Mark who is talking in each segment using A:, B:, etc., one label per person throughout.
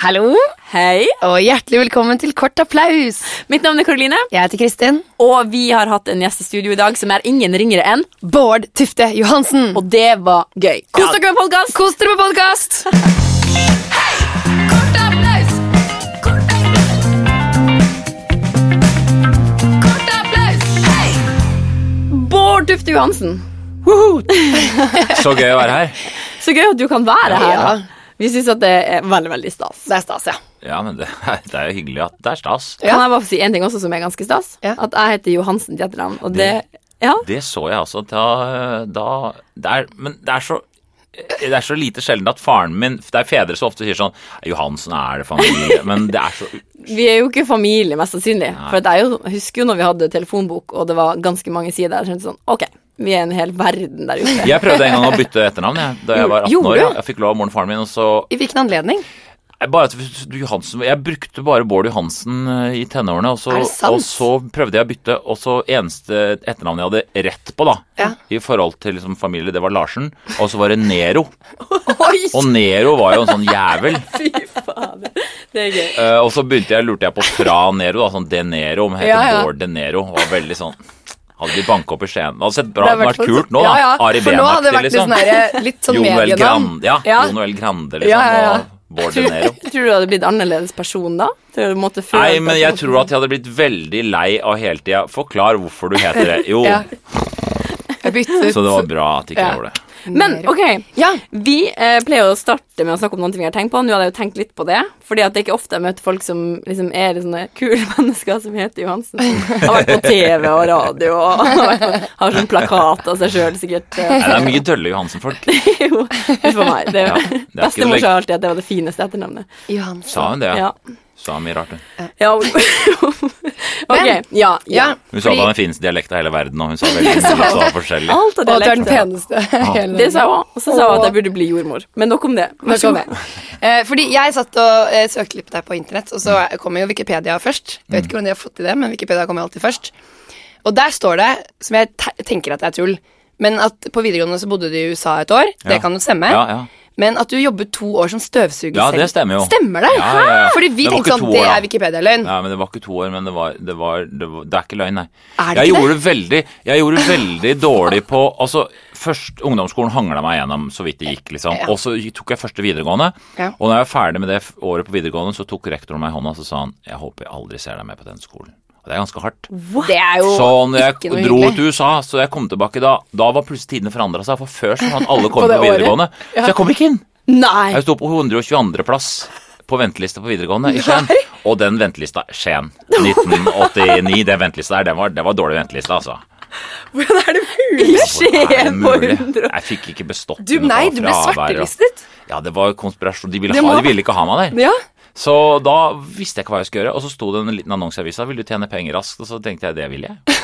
A: Hallo,
B: Hei,
A: og hjertelig velkommen til Kort applaus.
B: mitt navn er Karoline,
A: Jeg heter Kristin.
B: og vi har hatt en gjest i studio i dag som er ingen ringere enn,
A: Bård Tufte Johansen.
B: og det var gøy. Kos dere med podkast!
A: Kos dere med podkast!
B: Bård Tufte Johansen,
C: Så gøy å være her.
B: så gøy at du kan være her.
A: Ja.
B: da. Vi syns at det er veldig, veldig stas.
A: Det er stas, ja.
C: Ja, men det, det er jo hyggelig at det er stas.
A: Ja.
B: Kan jeg bare få si en ting også som er ganske stas?
A: Ja.
B: At jeg heter Johansen til etternavn, og det Ja,
C: Det så jeg også da, da det er, Men det er så det er så lite sjelden at faren min Det er fedre som ofte sier sånn Johansen er det familie Men det er så
B: vi er jo ikke familie, mest sannsynlig. For at jeg jo, husker jo når vi hadde telefonbok, og det var ganske mange sider, jeg skjønte sånn OK, vi er en hel verden der ute.
C: Jeg prøvde en gang å bytte etternavn jeg, da jeg var 18
B: Gjorde
C: år.
B: du?
C: Jeg, jeg fikk lov av moren og faren min, og så
A: I hvilken anledning?
C: jeg, bare, at du, Johansen, jeg brukte bare Bård Johansen eh, i tenårene, og så,
A: Er det sant?
C: og så prøvde jeg å bytte, og så eneste etternavnet jeg hadde rett på, da,
A: Ja.
C: i forhold til liksom, familie, det var Larsen, og så var det Nero.
B: Oi,
C: Og Nero var jo en sånn jævel.
B: fy fader. Det er gøy.
C: Eh, og så begynte jeg, lurte jeg på fra Nero, da, sånn De Nero, om heter
B: Ja, ja.
C: Bård De Nero. Var veldig sånn Hadde blitt banka opp i Skien. Det hadde sett bra
A: Det
C: det
A: har
C: hadde vært
A: vært
C: kult nå, da.
A: ja, ja.
C: Ari
A: For nå hadde det
C: Behn-aktig,
A: vært litt sånn,
C: liksom.
A: der, litt sånn
C: Jon Vel
A: medienavn.
C: Grande, ja.
B: Ja.
C: Jon Vel Grande, liksom.
B: Ja, ja, ja.
C: Og Bård De
B: Tror,
C: Nero.
B: tror du du hadde blitt annerledes person da? Tror du du måtte føle
C: Nei, men
B: at-
C: jeg tror at jeg hadde blitt veldig lei av hele tida. Forklar hvorfor du heter det. Jo,
A: Ja. Jeg bytter
C: så det var bra at ikke
A: Ja.
C: jeg gjorde det.
B: Men ok,
A: Ja.
B: vi eh, pleier å starte med å snakke om noen ting vi har tenkt på. Nå hadde jeg jo tenkt litt på det, fordi at det er ikke ofte jeg møter folk som liksom er litt sånne kule mennesker som heter Johansen. Som har vært på TV og radio og har, vært på, har sånn plakat av seg sjøl, sikkert. Eh,
C: Nei, det er mye dølle Johansen-folk.
B: Jo, huff a meg. Det,
C: Ja, det er ikke
B: Bestemor
C: legg-
B: sa alltid at det var det fineste etternavnet.
A: Johansen.
C: Sa hun det?
B: Ja.
C: Ja. Sa mye rart, hun.
B: ja. ok, ja. ja.
A: Ja.
C: Hun sa
A: fordi-
C: det var den fineste dialekta i hele verden, og hun sa veldig mye hun sa forskjellig.
B: Alt av
A: Og at du er den
B: dialekter.
A: peneste. i hele
B: Det
A: verden.
B: sa hun òg. Og så sa hun at jeg burde bli jordmor. Men nok om det. Vær så god.
A: Eh, Fordi jeg satt og eh, søkte litt på deg på internett, og så kom jo Wikipedia først. Jeg
C: Mm.
A: vet ikke hvordan de har fått til det, men Wikipedia kommer alltid først. Og der står det, som jeg te- tenker at det er tull, men at på videregående så bodde du i USA et år. Det
C: Ja.
A: kan jo stemme.
C: Ja, ja.
A: Men at du jobbet to år som støvsuger
C: Ja, det stemmer jo.
A: Stemmer det?
C: Ja, ja, ja.
A: Fordi vi
C: Det var
A: tenkte
C: ikke
A: sånn,
C: to
A: det
C: år, da.
A: er Wikipedia-løgn.
C: Nei, men det var ikke to år, men det var Det, var, det, var, det er ikke løgn, nei.
A: Er det
C: jeg
A: ikke
C: gjorde det veldig Jeg gjorde veldig dårlig på Altså, først ungdomsskolen hangla meg gjennom så vidt det gikk, liksom.
A: Ja.
C: Og så tok jeg første videregående.
A: Ja.
C: Og når jeg var ferdig med det f- året på videregående, så tok rektoren meg i hånda og så sa han Jeg håper jeg aldri ser deg mer på den skolen. Og det er ganske hardt.
A: Det er jo
C: Så når
A: ikke noe
C: jeg dro
A: hyggelig.
C: til USA, så jeg kom tilbake da, da var plutselig tidene forandra seg. For før så var det sånn at alle
A: På
C: kom på,
A: det året?
C: videregående. Så jeg kom ikke inn.
B: Nei.
C: Jeg sto på 122. plass på venteliste på videregående i Skien. Og den ventelista Skien. 1989, den ventelista der, den var, den var dårlig venteliste, altså.
A: Hvordan er det mulig?
B: Ikke
C: Hvordan er
B: skje
C: det
B: på
C: mulig?
B: 100
C: Jeg fikk ikke bestått.
A: Du,
C: under
A: nei,
C: fra-
A: du ble
C: fravær og-
A: svartelistet.
C: Ja, det var konspirasjon. De ville,
A: Det
C: ha,
A: må-
C: de ville ikke ha meg der.
A: Ja.
C: Så da visste jeg ikke hva jeg skulle gjøre. Og så sto det en liten annonse i avisa. Vil du tjene penger raskt? Og så tenkte jeg det vil jeg.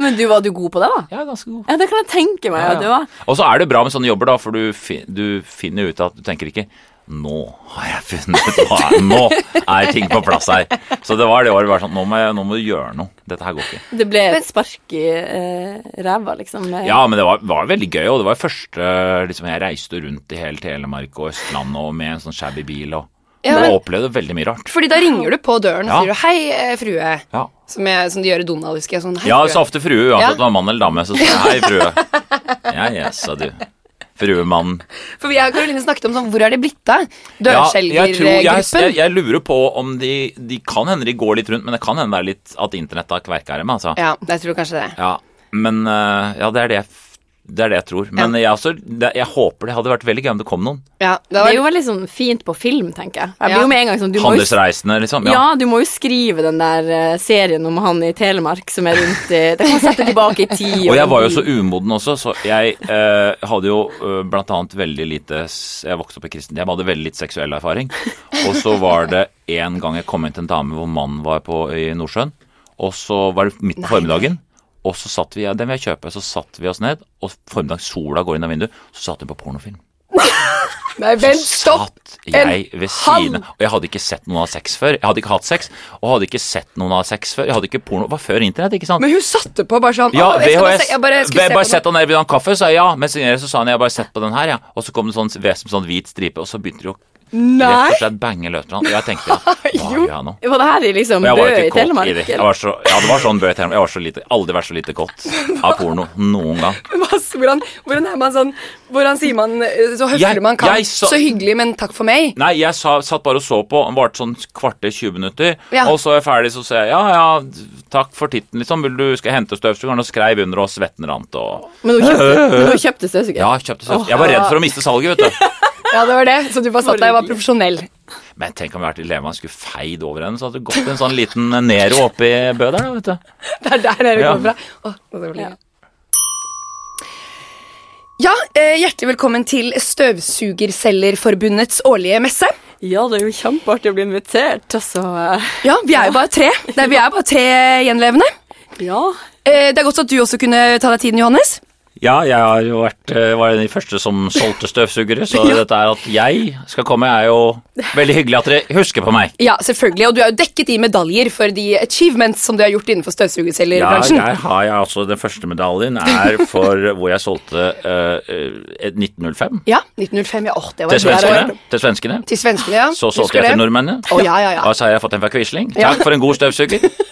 B: Men du, var du god på det, da?
C: Jeg er ganske god.
B: Ja, det kan jeg tenke meg at du var.
C: Og så er det bra med sånne jobber, da, for du, fi- du finner ut at du tenker ikke nå har jeg funnet ut hva er, Nå er ting på plass her. Så det var det året bare sånn nå må, jeg, nå må du gjøre noe. Dette her går ikke.
B: Det ble et spark i eh, ræva, liksom.
C: Ja, men det var, var veldig gøy, og det var første liksom, Jeg reiste rundt i hele Telemark og Østlandet og med en sånn shabby bil og,
A: Ja,
C: og
A: men-
C: opplevde veldig mye rart.
A: Fordi da ringer du på døren og
C: Ja.
A: sier du, 'hei, eh, frue',
C: Ja.
A: som, jeg, som de gjør i Donald, husker jeg. Sånn, hei,
C: Ja,
A: frue.
C: så ofte frue,
A: Ja.
C: uansett om det var mann eller dame, så sa jeg hei, frue. Ja, yes, sa du. Fruemannen.
A: For jeg og Karoline snakket om sånn, hvor er det blitt av?
C: Ja, jeg, tror, jeg, jeg,
A: Dørselgergruppen?
C: jeg lurer på om de, de kan hende de går litt rundt, men det kan hende det er litt at internett har kverka dem. Altså.
A: Ja, jeg tror kanskje det.
C: Ja, men eh, ja, det er det, jeg f- det er det jeg tror. Men jeg, også, det, jeg håper det hadde vært veldig gøy om det kom noen.
A: Ja, det
B: Det
A: var,
B: er jo veldig sånn fint på film, tenker jeg. Jeg
A: Ja.
B: blir jo med en gang sånn du må jo,
C: Handelsreisende, liksom.
B: ja,
C: Ja.
B: du må jo skrive den der eh, serien om han i Telemark som er rundt i Det kan man sette tilbake i tid.
C: Og jeg var jo så umoden også, så jeg eh, hadde jo eh, blant annet veldig lite s- Jeg vokste opp i kristent, jeg hadde veldig litt seksuell erfaring. Og så var det en gang jeg kom inn til en dame hvor mannen var på, i Nordsjøen. Og så var det midt på formiddagen, og så satt vi, ja, den vil jeg kjøpe, så satt vi oss ned, og formiddag, sola går inn av vinduet, så satt hun på pornofilm.
A: nei, vent, stopp!
C: satt jeg ved siden av Og jeg hadde ikke sett noen ha sex før. Jeg hadde ikke hatt sex, og hadde ikke sett noen ha sex før. Jeg hadde ikke porno Det var før internett, ikke sant?
A: Men hun satte på bare sånn
C: ja,
A: «Å, jeg skal bare
C: VHS.
A: se- Jeg bare skulle
C: bare
A: se på
C: sett han der vil du ha en kaffe, sa jeg ja. Men så så sa han jeg har bare sett på den her, ja. Og så kom det sånn, V- som sånn hvit stripe, og så begynte de å
B: Nei.
C: Rett og slett bange løs på han. Og jeg tenkte at hva gjør jeg nå?
B: Var det her i liksom
C: Og jeg
B: Bø
C: var jo
B: i
C: ikke kåt
B: Telemark?
C: i det. Jeg
B: eller?
C: var så, ja, det var sånn Bø i Telemark. Jeg var så lite, aldri vært så lite kåt av porno noen gang.
A: Hva- Hvordan, hvordan er man sånn Hvordan sier man eh, så høflig
C: Jeg-
A: man kan?
C: jeg sa-
A: så hyggelig, men takk for meg.
C: Nei, jeg sa, satt bare og så på. Den varte sånn kvarter, 20 minutter.
A: Ja.
C: Og så er jeg ferdig, så sier jeg ja, ja, takk for titten, liksom. Vil du, skal jeg hente støvsugeren? Og skreiv under, og svetten rant, og
B: Men hun kjøpte, men hun kjøpte støvsuger.
C: Ja, jeg kjøpte støvsuger. Jeg var redd for å miste salget, vet du.
A: Ja, det var det. Så du bare satt der og var profesjonell.
C: Men tenk om jeg vært i Leman skulle feid over henne, så hadde det gått en sånn liten Nero oppi Bø der, da, vet du.
A: Det er der dere
C: Ja.
A: kommer fra. Åh, nå skal det bli gøy. Ja, eh, hjertelig velkommen til Støvsugerselgerforbundets årlige messe.
B: Ja, det er jo kjempeartig å bli invitert, altså.
A: Ja, vi er jo bare tre. Nei, vi er bare tre gjenlevende.
B: Ja.
A: Eh, det er godt at du også kunne ta deg tiden, Johannes.
C: Ja, jeg har jo vært, eh, var den første som solgte støvsugere, så dette er at jeg skal komme, er jo veldig hyggelig at dere husker på meg.
A: Ja, selvfølgelig. Og du er jo dekket i medaljer for de achievements som du har gjort innenfor
C: Ja,
A: støvsugerselgerbransjen.
C: der har jeg altså den første medaljen er for hvor jeg solgte eh, eh, 1905
A: Ja, 1905. Ja, åh, det var
C: til
A: et bra år.
C: svenskene. Til svenskene.
A: Til svenskene, ja.
C: Så solgte
A: Husker
C: jeg til
A: det?
C: nordmennene.
A: Å, ja, ja, ja.
C: Og så har jeg fått en fra Quisling.
A: Ja.
C: Takk for en god støvsuger.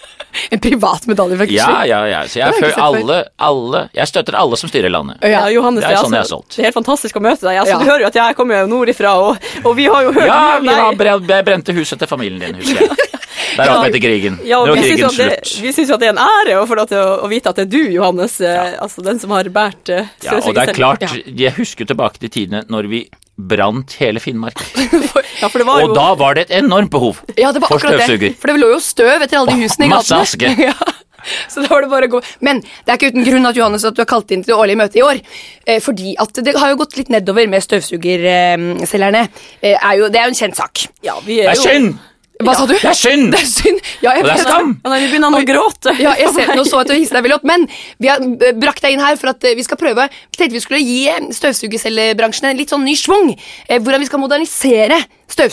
A: En privat medalje, faktisk.
C: Ja, ja, ja. Så jeg,
A: Det har jeg ikke
C: føler
A: sett før.
C: alle, alle Jeg støtter alle som styrer landet.
B: Ja, Johannes,
C: Det er sånn jeg
B: altså,
C: er solgt.
B: Det er helt fantastisk å møte deg. Altså,
A: Ja.
B: Du hører jo at jeg kommer jo nordifra, og, og vi har jo hørt mye
C: Ja,
B: om
C: vi
B: deg.
C: har bre- bre- brente huset til familien din, husker jeg. Der oppe etter krigen.
B: Ja, og
C: Nå er
B: vi syns jo
C: krigen
B: at det,
C: slutt.
B: vi syns jo at det er en ære å få lov til å, å vite at det er du, Johannes, eh, altså den som har båret eh,
C: Ja, og det er
B: støvsugerselger.
C: klart, jeg husker tilbake til tidene når vi brant hele Finnmark.
B: Ja, for det var
C: Og
B: jo
C: da var det et enormt behov
A: Ja, det var
C: for
A: akkurat
C: støvsuger.
A: det. For det lå jo støv etter alle de husene i
C: masse
A: gatene.
C: aske.
A: ja. Så da var det bare å gå. Men det er ikke uten grunn at Johannes at du er kalt inn til det årlige møtet i år. Eh, fordi at det har jo gått litt nedover med støvsugerselgerne. Eh, selgerne. eh, er jo, det er jo en kjent sak.
B: ja, vi
C: Det
B: er
C: er
B: jo
C: synd!
A: Hva sa du?
C: Det er synd!
A: Det er synd. Ja, jeg
C: Og det er
A: vet
C: skam!
B: Ja, nei, vi begynner nå å gråte.
A: Ja, jeg ser, nå så jeg at du hisset deg veldig opp, men vi har eh, brakt deg inn her for at eh, vi skal prøve Vi tenkte vi skulle gi eh, støvsugercellebransjen en litt sånn ny schwung. Eh, hvordan vi skal modernisere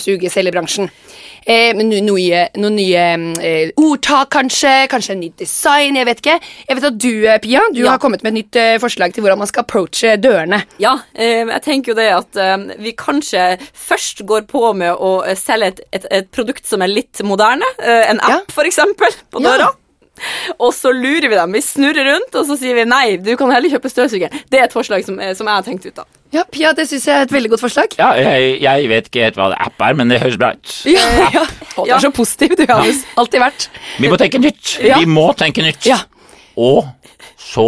A: støvsugercellebransjen. Eh, med no, noe, noen nye eh, ordtak, kanskje. Kanskje en ny design. Jeg vet ikke. Jeg vet at du, eh, Pia, du
B: Ja.
A: har kommet med et nytt eh, forslag til hvordan man skal approache dørene.
B: Ja, eh, jeg tenker jo det at eh, vi kanskje først går på med å eh, selge et, et, et produkt som er litt moderne, eh, en
A: Ja.
B: app for eksempel, på
A: Ja.
B: døra. Og så lurer vi dem. Vi snurrer rundt, og så sier vi nei, du kan heller kjøpe støvsugeren. Det er et forslag som, eh, som jeg har tenkt ut av.
A: Ja, Pia, det syns jeg er et veldig godt forslag.
C: Ja, jeg, jeg vet ikke helt hva det app er, men det høres bra ut.
A: Ja, ja. Å,
B: Ja.
A: Du er så positiv, du, Johannes. Alltid vært.
C: Vi må tenke nytt.
A: Ja.
C: Vi må tenke nytt.
A: Ja.
C: Og så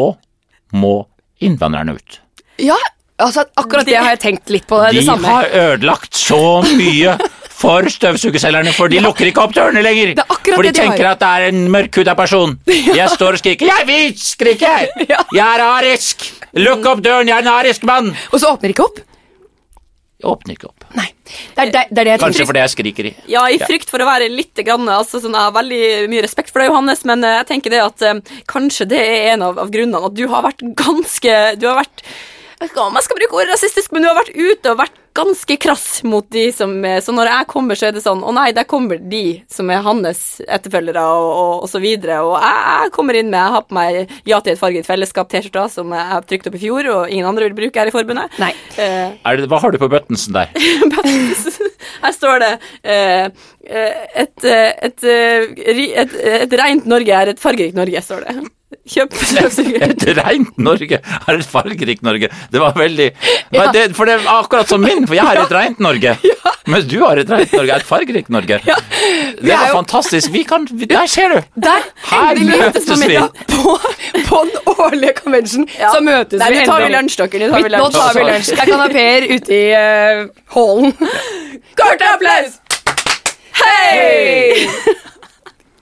C: må innvandrerne ut.
A: ja. Altså, akkurat det,
B: Det-
A: har jeg tenkt litt på. Det,
C: De
A: det samme.
C: har ødelagt så mye for støvsugerselgerne, for de lukker ikke opp dørene lenger.
A: Det er akkurat
C: for de
A: det de
C: tenker
A: har.
C: at det er en mørkhuda person. Jeg står og skriker 'Jeg vil skrike!
A: Ja.
C: Jeg er arisk! Lukk opp døren, jeg er en arisk mann!'
A: Og så åpner de ikke opp.
C: Jeg åpner ikke opp.
A: Nei, det er det, det, er det jeg
C: Kanskje
A: tenker.
C: fordi jeg skriker i.
B: Ja, i frykt for å være litt grann, altså, sånn, Jeg har veldig mye respekt for deg, Johannes, men eh, jeg tenker det at eh, kanskje det er en av, av grunnene at du har vært ganske Du har vært jeg vet ikke om jeg skal bruke ordet rasistisk, men du har vært ute og vært ganske krass mot de som eh, Så når jeg kommer, så er det sånn Å nei, der kommer de som er hans etterfølgere, og, og, og så videre. Og jeg, jeg kommer inn med Jeg har på meg Ja til et farget fellesskap-T-skjorta som jeg trykte opp i fjor, og ingen andre vil bruke her i forbundet.
A: Nei.
B: Eh,
C: Er det, hva har du på buttonsen der?
B: Baptist. Her står det eh, eh, et, eh, et, eh, ri- et, et rent Norge er et fargerikt Norge, står det. Kjøp støvsuger.
C: Et reint Norge er et fargerikt Norge. Det var veldig Nei, det, For det er akkurat som min, for jeg har et reint Norge. Mens du har et reint Norge, et fargerikt Norge. Det
A: er
C: var
A: jo-
C: fantastisk. Vi kan vi- Der ser du!
A: Der
C: Her
A: endelig
C: møtes
A: på
C: vi.
A: middag. På, på den årlige convention
B: Ja.
A: så møtes
B: Nei,
A: vi.
B: nå tar vi
A: endelig.
B: lunsj, dere. Nå tar vi
A: Nå
B: lunsj.
A: tar vi lunsj. Det er kanapeer ute i eh, hallen. Kort applaus! Hei!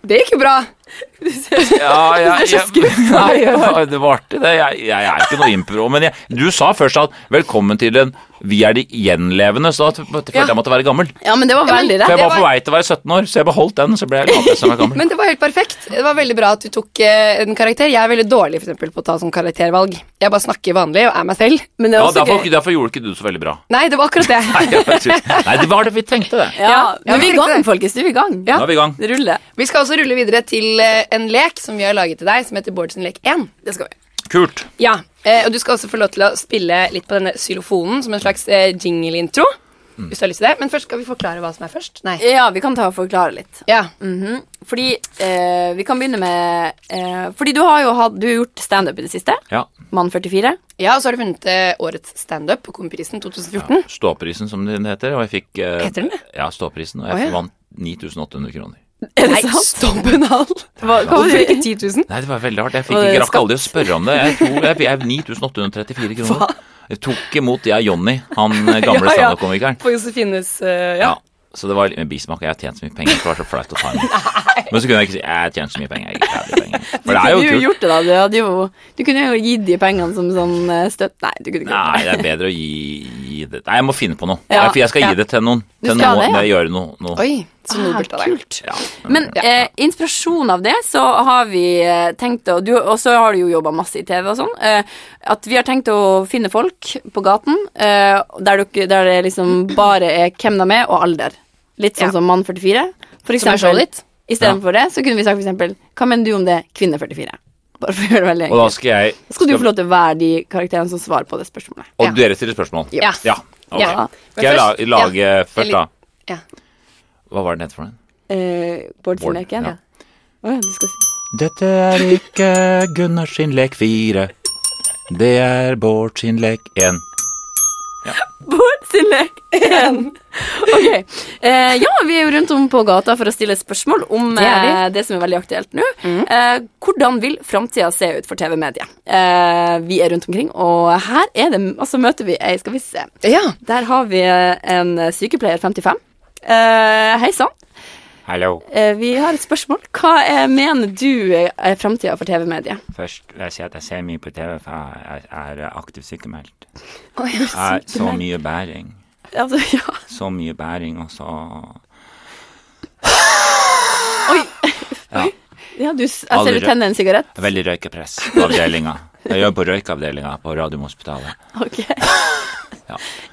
A: Det gikk jo bra.
C: Ja, ja, ja. Nei, ja, det var artig, det. Jeg, jeg er ikke noe impro. Men jeg, du sa først at 'velkommen til en Vi er de gjenlevende', så da følte jeg måtte være gammel.
B: Ja, men det var
A: veldig
C: For jeg
A: det
C: var på
A: var-
C: vei til å være 17 år, så jeg beholdt den. Så ble jeg gammel som jeg var gammel.
A: Men det var helt perfekt. Det var veldig bra at du tok eh, en karakter. Jeg er veldig dårlig for eksempel, på å ta sånn karaktervalg. Jeg bare snakker vanlig og er meg selv.
B: Men det
C: Ja,
B: var også
C: derfor,
B: gøy.
C: derfor gjorde ikke du det så veldig bra.
A: Nei, det var akkurat
C: Nei,
A: det.
C: det var det vi tenkte, det.
B: Ja,
A: Ja,
B: men vi er i
A: tenkte
B: gang,
A: det.
B: folkens. Du er i gang.
C: Nå er vi i gang.
B: Det ruller.
A: Vi skal også rulle videre til eh, en lek som vi har laget til deg, som heter Bård sin lek 1.
B: Det skal vi.
C: Kult.
A: Ja, eh, og du skal også få lov til å spille litt på denne xylofonen som en slags eh, jingle-intro. hvis du har lyst til det. Men først skal vi forklare hva som er først. Nei.
B: Ja, vi kan ta og forklare litt.
A: Ja. mm.
B: Mhm. Fordi eh, Vi kan begynne med eh, Fordi du har jo hatt, du har gjort standup i det siste.
D: Ja.
B: Mann 44.
A: ja, og så har du vunnet eh, årets standup på Kompprisen 2014.
D: ja. Ståprisen, som den heter. Og jeg fikk eh,
A: Heter den det?
D: Ja, Ståprisen. Og
A: Å,
D: jeg
A: ja.
D: vant 9800 kroner.
B: Er det
A: Nei,
B: sant?
A: stopp en hal!
B: Hva, hva var
A: Hvorfor
B: det?
A: ikke 10 000?
D: Nei, det var veldig hardt. Jeg
B: Var
D: fikk
B: det
D: ikke rakk
B: skatt?
D: aldri å spørre om det. Jeg tror jeg, jeg 9834 kroner. Jeg tok imot jeg Jonny, han eh, gamle
A: Ja, ja.
D: standup-komikeren.
A: På Josefines eh, ja.
D: Ja. Så det var litt med bismak. Jeg har tjent så mye penger. Det var så flaut å ta imot. Men så kunne jeg ikke si jeg har tjent så mye penger. Jeg er ikke ferdig med penger. For det er
B: du
D: jo
B: kunne jo
D: kult.
B: gjort det, da. Du, hadde jo, du kunne jo gitt de pengene som sånn eh, støtt... Nei, du kunne ikke gjort
D: Nei,
B: det.
D: det er bedre å gi, gi det Nei, jeg må finne på noe. Nei,
B: Ja,
D: for jeg skal
B: ja.
D: gi det til noen.
B: Du
D: Til
B: skal
D: noen.
B: det, ja.
D: Jeg gjør noe. noe.
A: Oi, så nobelt av
B: Ah,
A: deg.
B: kult.
D: Ja.
B: Men eh, inspirasjon av det, så har vi eh, tenkt å du, Og så har du jo jobba masse i TV og sånn. Eh, at vi har tenkt å finne folk på gaten eh, der, du, ikke- der det liksom bare er hvem de er, og alder. Litt sånn
A: Ja.
B: som Mann 44. For
A: Som er showet ditt?
B: Istedenfor for det så kunne vi sagt for eksempel Hva mener du om det? Kvinne 44. Bare for å gjøre det veldig
D: Og da
B: enkelt.
D: skal jeg
B: Så skal du få lov til å være de karakterene som svarer på det spørsmålet.
A: Ja.
D: Og dere stiller spørsmål?
A: Ja.
D: Ja. ok.
A: Ja.
D: Skal jeg la,
A: Men først-
D: lage
A: ja.
D: først, da?
A: Ja.
D: Hva var den het for noe?
B: Eh, Bård sin
D: Bård,
B: leke?
D: ja.
B: Ja. Å ja, du skal si
D: Dette er ikke Gunnars sin lek fire. Det er Bård sin lek én.
B: Bård sin lek igjen. Ok. Eh, ja, vi er jo rundt om på gata for å stille spørsmål om
A: Det
B: det,
A: er vi. Mm.
B: eh, det som er veldig aktuelt nå. Eh, hvordan vil framtida se ut for TV-mediet? Eh, vi er rundt omkring, og her er det Og så møter vi ei, skal vi se
A: ja.
B: Der har vi en sykepleier 55. Eh, Hei sann.
C: Hallo.
B: Eh, vi har et spørsmål. Hva eh, mener du er framtida for TV-mediet?
C: Først vil jeg si at jeg ser mye på TV, for jeg er, er aktiv sykemeldt. Jeg er så mye bæring.
B: Altså, ja.
C: Så mye bæring, og så
B: ja, du s- jeg
D: Aldri
B: ser du
D: rø-
B: tenner en sigarett.
C: Veldig røykepress på avdelinga. Jeg jobber på røykeavdelinga på Radiumhospitalet.
B: Ok.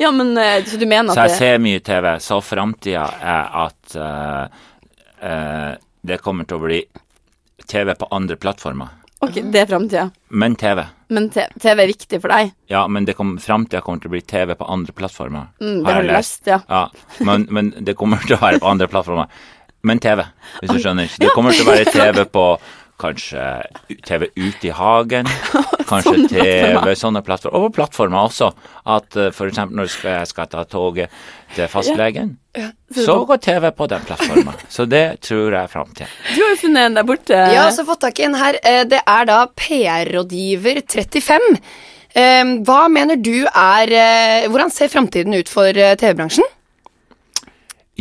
B: Ja. men eh, Så du mener at
C: Så jeg
B: det
C: ser mye TV. Så framtida er at eh, eh, det kommer til å bli TV på andre plattformer.
B: Ok, det er framtida.
C: Men TV.
B: Men te- TV er viktig for deg.
C: Ja, men det kommer, fremtiden kommer til å bli TV på andre plattformer.
B: Mm, det har du lest, ja.
C: Ja, men, men det kommer til å være på andre plattformer. Men TV, hvis du skjønner. Det kommer til å være TV på kanskje u- TV ute i hagen. Kanskje
B: Sånne
C: TV
B: plattformer.
C: sånne plattformer. Og på plattformer også. At eh, for eksempel når jeg skal- jeg skal ta toget til fastlegen, så går TV på den plattformen. Så det tror jeg er fremtiden.
B: Du har jo funnet en der borte.
A: Jeg har også fått tak i en her. Eh, Det er da PR-rådgiver 35. Eh, Hva mener du er eh, Hvordan ser framtiden ut for eh, TV-bransjen?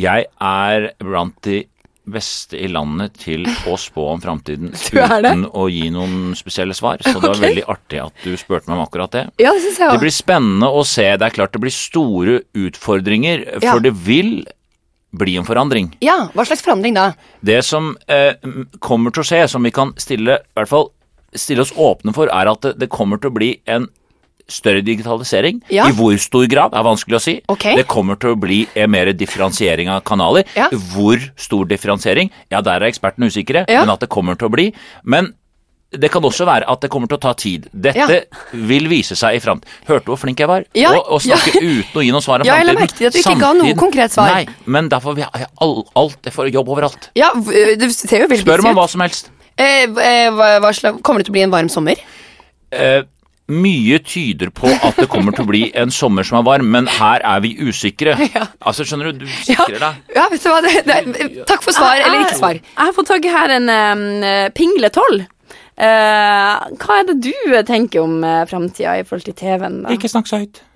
C: Jeg er blant de beste i landet til å spå om framtiden
B: er det?
C: uten å gi noen spesielle svar. Så det var
B: Ok.
C: veldig artig at du spurte meg om akkurat det.
A: Ja, det syns jeg
C: Det blir spennende å se. Det er klart det blir store utfordringer,
A: Ja.
C: for det vil bli en forandring.
A: Ja, Hva slags forandring da?
C: Det som eh, m- kommer til å skje, som vi kan stille, i hvert fall stille oss åpne for, er at det, det kommer til å bli en større digitalisering.
A: Ja.
C: I hvor stor grad, er vanskelig å si.
A: Ok.
C: Det kommer til å bli eh, mer differensiering av kanaler.
A: Ja.
C: Hvor stor differensiering? Ja, der er ekspertene usikre,
A: Ja.
C: men at det kommer til å bli. Men det kan også være at det kommer til å ta tid. Dette vil vise seg i framtiden. Hørte du hvor flink jeg var?
A: Ja,
C: Og, og snakke uten å gi noe svar om
A: Ja, jeg la
C: framtiden.
A: merke til at du ikke ga noe
C: Samtidig-
A: konkret svar.
C: Nei, men derfor har jeg all, alt, jeg får jobb overalt.
A: Ja, v- eh, det ser jo veldig
C: Spør meg
A: busy
C: hva
A: ut.
C: som helst.
A: Eh, eh, hva, hva slags, Kommer det til å bli en varm sommer?
C: Eh, mye tyder på at det kommer til å bli en sommer som er varm, men her er vi usikre. Altså, skjønner du, du sikrer deg.
A: Ja, vet du hva? Det, det, er- takk for svar,
B: Jeg-
A: eller ikke svar.
B: Ah, Jeg har fått tak i her en um, pingle-toll. Eh, hva er det du tenker om uh, framtida i forhold til TV-en? da?
C: snakk så høyt.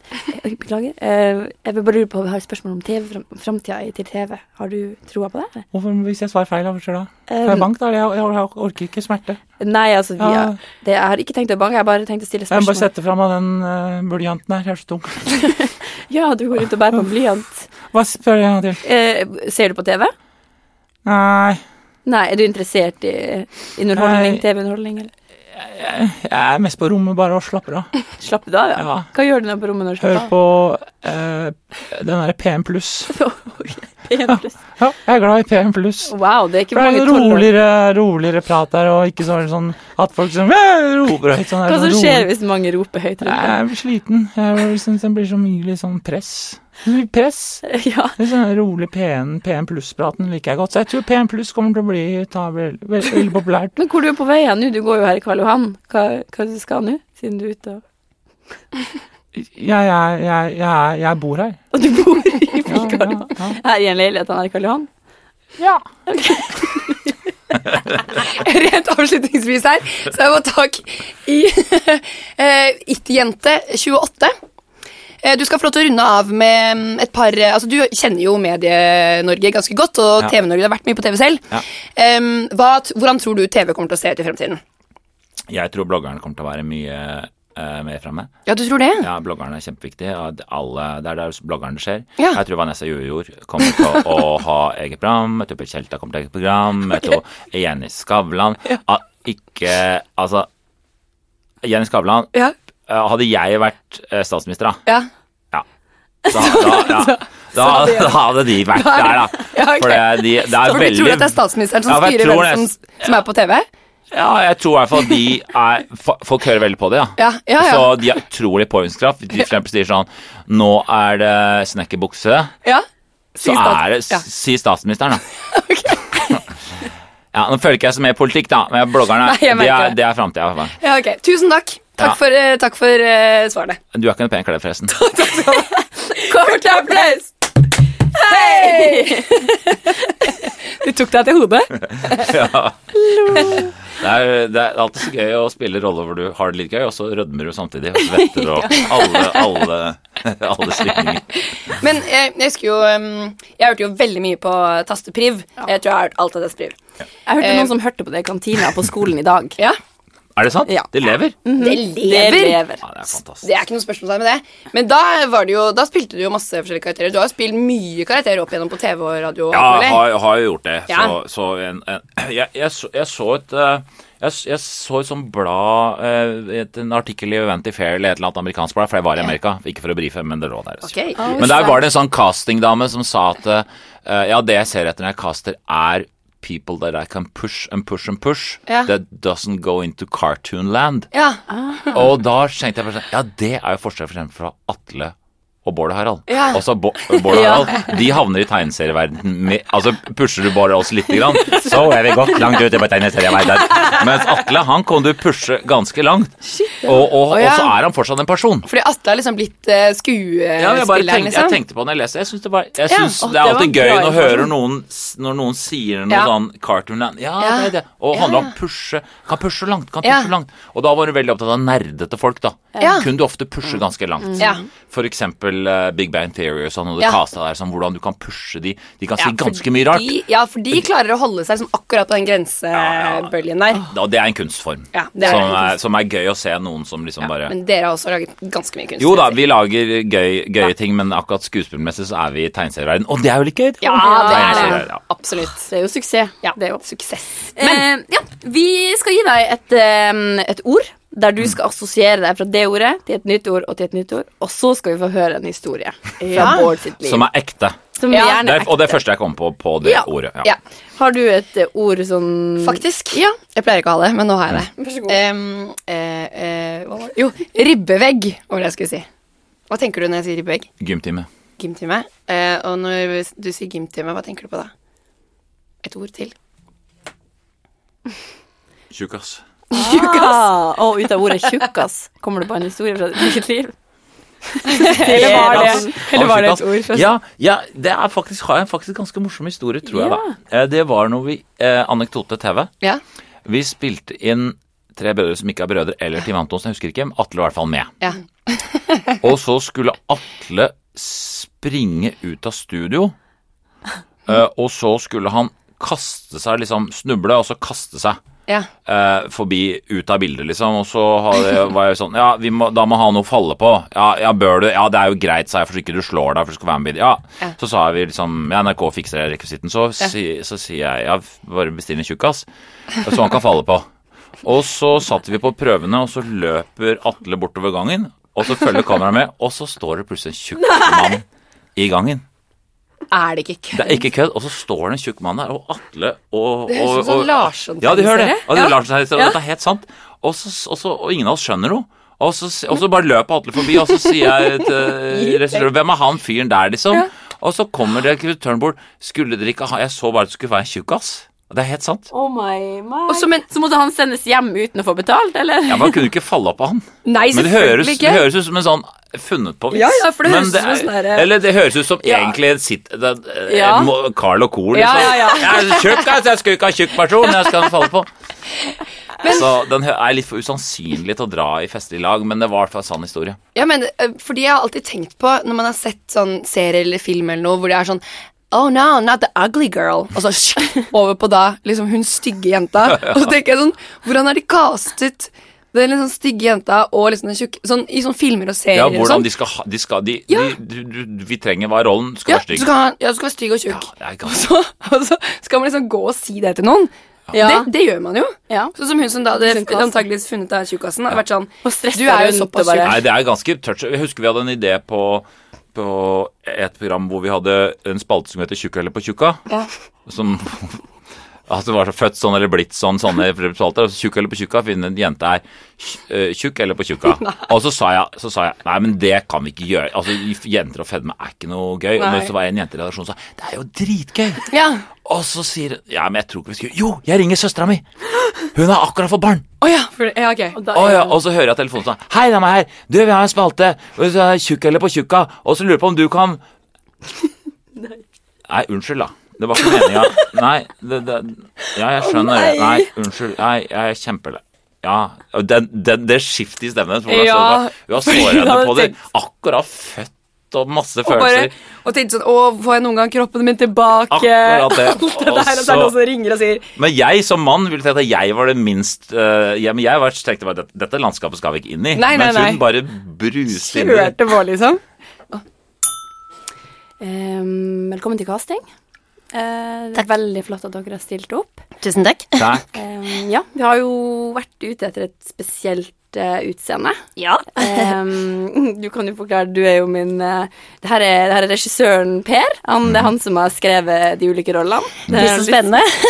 B: Oi, Beklager. Eh, jeg vil bare lure på, vi har et spørsmål om TV, fram- framtida i- til TV. Har du troa på det?
C: Hvis jeg svarer feil, hvorfor da?
B: Får jeg
C: bank, da? Jeg, orker ikke smerte.
B: Nei, altså, vi
C: Ja.
A: Ah.
B: har, det, jeg har ikke tenkt å banke, jeg har bare tenkt å stille spørsmål.
C: sette fra meg den eh, buljanten her, jeg er så tung.
B: Ja, du går rundt og bærer på en blyant.
C: Hva spør jeg til?
B: Eh, ser du på TV?
C: Nei,
B: Nei, er du interessert i i underholdning,
C: Nei.
B: TV-underholdning, eller?
C: jeg er mest på rommet bare og slapper av.
B: Slapp du av, ja.
C: Ja.
B: Hva gjør du nå på rommet når du
C: Hør
B: slapper av?
C: på eh, den derre PM pluss.
B: P1+.
E: Ja, jeg er glad i PM pluss.
B: Wow, det er ikke
E: For det er
B: mange
E: litt
B: tolvåringer.
E: roligere, roligere prat der, og ikke sånn, sånn at folk sånn, «Æ», roper høyt. Sånn,
B: Hva som skjer hvis mange roper høyt
E: Nei,
B: rundt
E: Jeg blir sliten. Jeg syns den blir så mye litt sånn press. Det blir Press.
B: deg? Ja.
E: Litt sånn rolig P1, PM pluss-praten liker jeg godt. Så jeg tror PM pluss kommer til å bli ta, vel, vel, veldig populært.
B: Men hvor er du på vei hen nå? Du går jo her i kveld, Johan. Hva, hva du skal du nå, siden du er ute og
E: Jeg, jeg, jeg, jeg, jeg bor her.
B: Og du bor i
E: Ja,
B: Karl Johan?
E: ja,
B: Her i en leilighet han er i Karl Johan?
E: ja.
A: Rent avslutningsvis her, så jeg må tak i eh, It-jente28. Eh, Du skal få lov til å runde av med mm, et par eh, altså Du kjenner jo Medie-Norge ganske godt, og
C: Ja.
A: TV-Norge du har vært mye på TV selv.
C: Ja.
A: Em, hva, t- hvordan tror du TV kommer til å se ut i fremtiden?
C: Jeg tror bloggerne kommer til å være mye eh, mer fremme.
A: Ja, du tror det?
C: Ja, bloggerne er kjempeviktige. og Alle, det er der bloggerne skjer.
A: Ja.
C: Jeg tror Vanessa Jujord kommer til å ha eget program. Jeg tror Per Kjelta kommer til å ha eget program. Jeg tror Jenny Skavlan Ah, Ikke Altså, Jenny Skavlan
A: Ja.
C: eh, Hadde jeg vært eh, statsminister, da,
A: Ja.
C: da, da, ja, da, da hadde de vært der, da.
A: Ja, ok.
C: For det er, de, det
A: Så
C: er
A: for du tror at det
C: veldig
A: er statsministeren som
C: Ja, for jeg
A: styrer
C: tror
A: hvem
C: det.
A: som, som er på TV?
C: Ja, jeg tror i hvert fall de er fo- Folk hører veldig på det, da.
A: Ja, ja, ja.
C: Så de har utrolig påvirkningskraft. Hvis De for eksempel sier sånn Nå er det snekkerbukse.
A: Ja.
C: Så
A: Sier stats-
C: er det
A: ja.
C: Si statsministeren, da. ja, nå følger ikke jeg så med i politikk, da, men bloggerne
A: Nei, jeg
C: det
A: merker
C: er,
A: det.
C: det er framtida.
A: Ja, ok. Tusen takk. Takk
C: Ja.
A: for, eh, takk for eh, svarene.
C: Du er ikke noe pen kledd, forresten.
B: Kort applaus!
A: Du tok deg til hodet.
C: ja. det, er, det er alltid så gøy å spille roller hvor du har det litt gøy, og så rødmer du samtidig. Og svetter og alle, alle, alle svingninger.
A: Men jeg, jeg husker jo em, Jeg hørte jo veldig mye på eh, Tastepriv. Jeg tror jeg har hørt alt av Tastepriv.
B: Jeg hørte
A: Eh.
B: noen som hørte på det i kantina på skolen i dag.
A: Ja. Mm.
C: Er det sant?
B: Ja.
C: Det lever?
A: Mm-hmm. Det
B: Det
A: lever!
B: lever.
C: Ja, det er fantastisk.
A: Det er ikke noe spørsmål med det. Men da, var det jo, da spilte du jo masse forskjellige karakterer. Du har jo spilt mye karakterer opp igjennom på TV og radio. og
C: Ja,
A: alt mulig.
C: jeg har, jeg har jo gjort det.
A: Ja.
C: Så, så en, en, jeg, jeg, så, jeg så et eh, jeg, s- jeg så et sånt blad, eh, et, en artikkel i Vanity Fair eller et eller annet amerikansk blad, for jeg var i Amerika. Ikke for å brife, men det lå der. så.
A: Ok.
B: Ah.
C: Men der var det en sånn castingdame som sa at eh, ja, det jeg ser etter når jeg caster, er people that I can push and push and push
A: Ja.
C: that doesn't go into cartoon land.
A: Ja.
C: Og da tenkte jeg bare sånn Ja, det er jo forskjell for eksempel fra Atle og Bård og Harald.
A: Ja.
C: Også Bo- Bård og Harald, de havner i tegneserieverden med, Altså, pusher du bare oss lite grann, så er vi godt langt ute på tegneserieverdenen. Mens Atle, han kan du pushe ganske langt. Og, og,
A: Å, ja.
C: og så er han fortsatt en person.
A: Fordi Atle har liksom blitt eh, skuespilleren,
C: Ja, men jeg, bare tenkte, jeg
A: liksom.
C: tenkte på det når jeg leser. Jeg synes det, var, jeg
A: Ja,
C: synes
B: å,
C: det er
B: det var
C: alltid
B: bra
C: gøy når,
B: informasjon.
C: hører noen, s- når noen sier noe
A: Ja.
C: sånn Cartoonland. Ja,
A: Ja.
C: det er det. Og
A: Ja,
C: handler om
A: ja.
C: pushe. Kan pushe langt, kan
A: Ja.
C: pushe langt. Og da var du veldig opptatt av nerdete folk, da.
A: Ja. Mm.
C: Kunne du ofte pushe ganske langt.
A: Ja.
C: For eksempel eh, Big Bang Theory og sånn, og du
A: Ja.
C: kasta der sånn hvordan du kan pushe de. De kan
A: Ja,
C: si ganske mye rart.
A: De, ja, for de klarer å holde seg liksom akkurat på den grensebølgen der.
C: Og det er en kunstform
A: Ja, det er
C: som,
A: en
C: er, som er gøy å se noen som liksom bare
A: Men dere har også laget ganske mye kunst.
C: Jo da, vi lager gøy, gøye ting, men akkurat skuespillmessig så er vi i tegneserieverdenen. Og det er jo litt gøy! da.
A: Ja, det er det.
C: Tegneserier, ja.
A: Absolutt.
B: Det er jo suksess.
A: Ja.
B: Det er jo
A: Suksess.
B: Men ja, vi skal gi deg et, eh, et ord der du skal assosiere deg fra det ordet til et nytt ord og til et nytt ord, og så skal vi få høre en historie fra
A: Ja.
B: Bård sitt liv.
C: Som er ekte.
B: Som
A: Ja.
B: gjerne
C: Det
B: er
C: er, og det
B: ekte.
C: er første jeg kom på på det
B: Ja.
C: ordet. Ja.
A: Ja.
B: Har du et eh, ord som
A: Faktisk. Jeg pleier ikke å ha det, men nå har jeg det.
B: Vær så
A: Em, eh, eh, hva var det? Jo, ribbevegg var det jeg skulle si. Hva tenker du når jeg sier ribbevegg?
C: Gymtime.
A: Gymtime. Eh, og når du sier gymtime, hva tenker du på da? Et ord til.
C: Tjukk, ass.
B: Ah, og ut av ordet tjukkas kommer det bare en historie fra ditt eget liv. Eller
A: var det-
C: eller var det et
B: ord fra
C: Ja, ja det er faktisk, har jeg en faktisk ganske morsom historie, tror jeg, da. Eh, Det var noe vi eh, Anekdote TV.
A: Ja.
C: Vi spilte inn Tre brødre som ikke er brødre, eller Tim Antonsen, jeg husker ikke. men Atle var i hvert fall med.
A: ja.
C: Og så skulle Atle springe ut av studio, eh, og så skulle han kaste seg, liksom snuble, og så kaste seg.
A: ja.
C: eh, forbi ut av bildet, liksom. Og så hadde, var jeg sånn Ja, vi må, da må ha noe å falle på. Ja, ja, bør du Ja, det er jo greit, sa jeg, for så ikke du slår deg for du skal være med i det. Ja.
A: Ja.
C: Så sa vi liksom Ja, NRK fikser rekvisitten. Så, si, så sier jeg ja, bare bestill en tjukkas, så han kan falle på. Og så satt vi på prøvene, og så løper Atle bortover gangen. Og så følger kameraet med, og så står det plutselig en tjukk mann i gangen.
A: Er det ikke kødd?
C: Det er ikke kødd. Og så står det en tjukk mann der, og Atle og
A: Det sånn høres
C: og-
A: ut som
C: og-
A: Larsson.
C: Ja, de hører det.
B: tegneserie.
C: Og, det
B: Ja.
C: er Larsen, og dette er helt sant. Og, så, og, så, og ingen av oss skjønner noe. Og så, og så bare løper Atle forbi, og så sier jeg til eh, regissøren Hvem er han fyren der, liksom? Og så kommer det Turnbull. Skulle dere ikke ha Jeg så bare at det skulle være en tjukkass. Det er helt sant.
B: Oh my, my.
A: Og så, men,
B: Så måtte han sendes hjem uten å få betalt, eller?
C: Ja, Man kunne ikke falle opp på han.
A: nei,
C: Men det
A: selvfølgelig
C: høres, det
A: ikke.
C: høres ut som en sånn funnet på vits.
A: Ja, ja, for det
C: Men
A: høres ut som en sånn derre-
C: Eller det høres ut som egentlig en sitt... Det, eh,
B: Ja.
C: må- Carl og Co. liksom.
B: Ja, ja, ja.
C: Jeg er tjukk, altså. Jeg skal jo ikke ha tjukk person. Jeg skal falle på. Så den hø- er litt for usannsynlig til å dra i festlig lag, men det var i hvert fall en sann historie.
A: Ja, men eh, fordi jeg har alltid tenkt på Når man har sett sånn serie eller film eller noe Hvor det er sånn Oh no, not the ugly girl Og så sk- over på da Liksom hun stygge jenta Og så tenker jeg sånn Hvordan har de castet Den liksom stygge jenta Og liksom den tjukke sånn, I sånne filmer og serier
C: Ja,
A: og sånn.
C: hvordan de skal ha de skal, de,
A: Ja.
C: de, du, du, Vi trenger hva rollen skal
A: ja,
C: være
A: du
C: stygg.
A: skal, ha- ja, du skal være stygg og tjukk
C: Ja, jeg kan-
A: og, så, og så skal man liksom gå og si det til noen
B: Ja.
A: det, det gjør man jo
B: Ja.
A: Sånn som hun som da hadde
B: Som kasten.
A: antageligvis funnet av tjukkassen Har vært sånn
B: Og stresser
A: Du er jo
B: rundt og
A: såpass
B: bare-
A: tjukk
C: Nei, det er ganske touch. Jeg husker vi hadde en idé på, på et program hvor vi hadde en spalte som heter Tjukka eller på tjukka. Som Altså var så født sånn eller blitt sånn, sånne spalter. og så Tjukk eller på tjukka, finne en jente er tj- eh, tjukk eller på tjukka. Og så sa, jeg, så sa jeg nei, men det kan vi ikke gjøre. Altså, Jenter og fedme er ikke noe gøy. Og
B: Nei.
C: så var det en jente i redaksjonen som sa det er jo dritgøy.
A: Ja
C: Og så sier hun ja, men jeg tror ikke vi skulle Jo, jeg ringer søstera mi! Hun har akkurat fått barn!
A: Åja, for, ja, ok
B: Og da
C: Å
B: er
C: ja,
B: det-
C: og så hører jeg telefonen sånn Hei, det er meg her. Du, vi har en spalte. Og så er jeg Tjukk eller på tjukka. Og så lurer jeg på om du kan Nei, unnskyld, da. Det var ikke meninga. Nei, det, det Ja, jeg skjønner det. Nei, unnskyld. Nei, jeg er kjempelei. Ja, og den, den, det skiftet i stemmen. tror jeg, så
B: Ja,
C: det var- Hun har
B: fordi hun
C: såret henne
B: hadde
C: på det.
B: tenkt-
C: Akkurat født og masse
A: Og bare,
C: følelser.
A: og tenkte sånn Å, får jeg noen gang kroppen min tilbake?
C: Akkurat det.
A: Alt det der,
C: Og
A: og så er det
C: så-
A: noen som ringer og sier
C: Men jeg som mann ville tenkt at jeg var det minst eh, ja, men Jeg var, tenkte bare dette, dette landskapet skal vi ikke inn i.
A: Nei, nei,
C: mens
A: nei.
C: hun bare bruste inn i det.
A: Kjørte på, liksom.
B: Ehm, velkommen til casting. Eh, det er veldig flott at dere har stilt opp.
A: Tusen takk.
C: Takk.
B: Ehm, ja, vi har jo vært ute etter et spesielt eh, utseende.
A: Ja.
B: Ehm, du kan jo forklare, du er jo min eh, det, her er, det her er regissøren Per. Han, det er han som har skrevet de ulike rollene. Det er litt-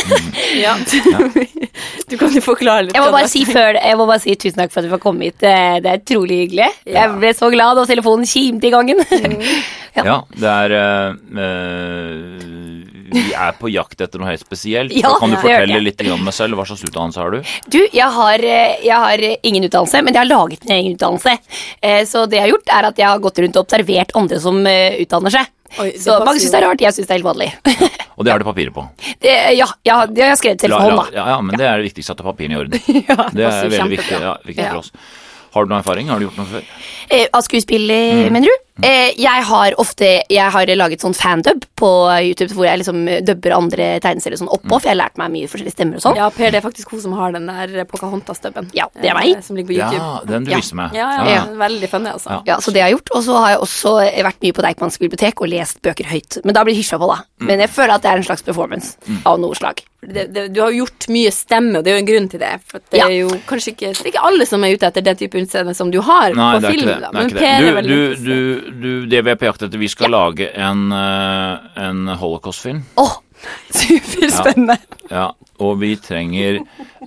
B: Ja. du kan jo forklare litt.
F: Jeg må
B: hva
F: bare
B: det-
F: si før Jeg må bare si tusen takk for at du får komme hit. Eh, Det er utrolig hyggelig. Jeg ble så glad, og telefonen kimte i gangen.
B: Mm.
C: Ja, det er eh, eh, Vi er på jakt etter noe helt spesielt.
F: Ja,
C: kan du
F: det hørte
C: fortelle
F: jeg.
C: litt grann om deg selv? Hva slags utdannelse har du?
F: Du, jeg har, eh, jeg har eh, ingen utdannelse, men jeg har laget min egen utdannelse. Eh, Så det jeg har gjort, er at jeg har gått rundt og observert andre som eh, utdanner seg.
B: Oi, det
F: så
B: passer
F: mange syns det er
B: jo.
F: rart, jeg syns det er helt vanlig.
C: Og det har du papirer på.
F: Det, ja, jeg har, jeg har skrevet selv
C: La-
F: for
C: la-
F: hånd, da.
C: ja, ja, men det er det viktigste at du har papirene i orden. det
F: passer
C: er veldig viktig,
F: kjempebra.
C: ja, viktig for oss. Har du noen erfaring? Har du gjort noe før?
F: Eh, Av skuespill,
C: Mm.
F: eh, mener du? Eh, Jeg har ofte Jeg har laget sånn fandub på YouTube, hvor jeg liksom eh, dubber andre tegneserier sånn
C: Mm.
F: oppå, for jeg har lært meg mye forskjellige stemmer og sånn.
B: Ja, Per, det er faktisk hun som har den der Pocahontas-dubben.
F: Ja, det er meg.
B: Eh, Som ligger på
C: Ja,
B: YouTube.
C: den du
F: Ja.
C: viste meg.
B: Ja, ja,
C: Ja.
B: Veldig funny, altså.
C: Ja.
F: Ja, så det har jeg gjort, Og så har jeg også eh, vært mye på Deichmansk bibliotek og lest bøker høyt. Men da blir det hysja på, da.
C: Mm.
F: Men jeg føler at det er en slags performance av noe slag.
B: det, det, du har jo gjort mye stemme, og det er jo en grunn til det. For at det
F: Ja.
B: er jo kanskje ikke, det er ikke alle som er ute etter den type utseende som du har
C: Nei,
B: på
C: det er
B: film.
C: ikke
B: da.
C: det. det, er
B: Men
C: ikke
B: Per er
C: det.
B: veldig
C: Du, du, du, du, det vi er på jakt etter Vi skal lage en, eh, en holocaust-film.
F: Åh,
A: Superspennende.
C: Ja, og vi trenger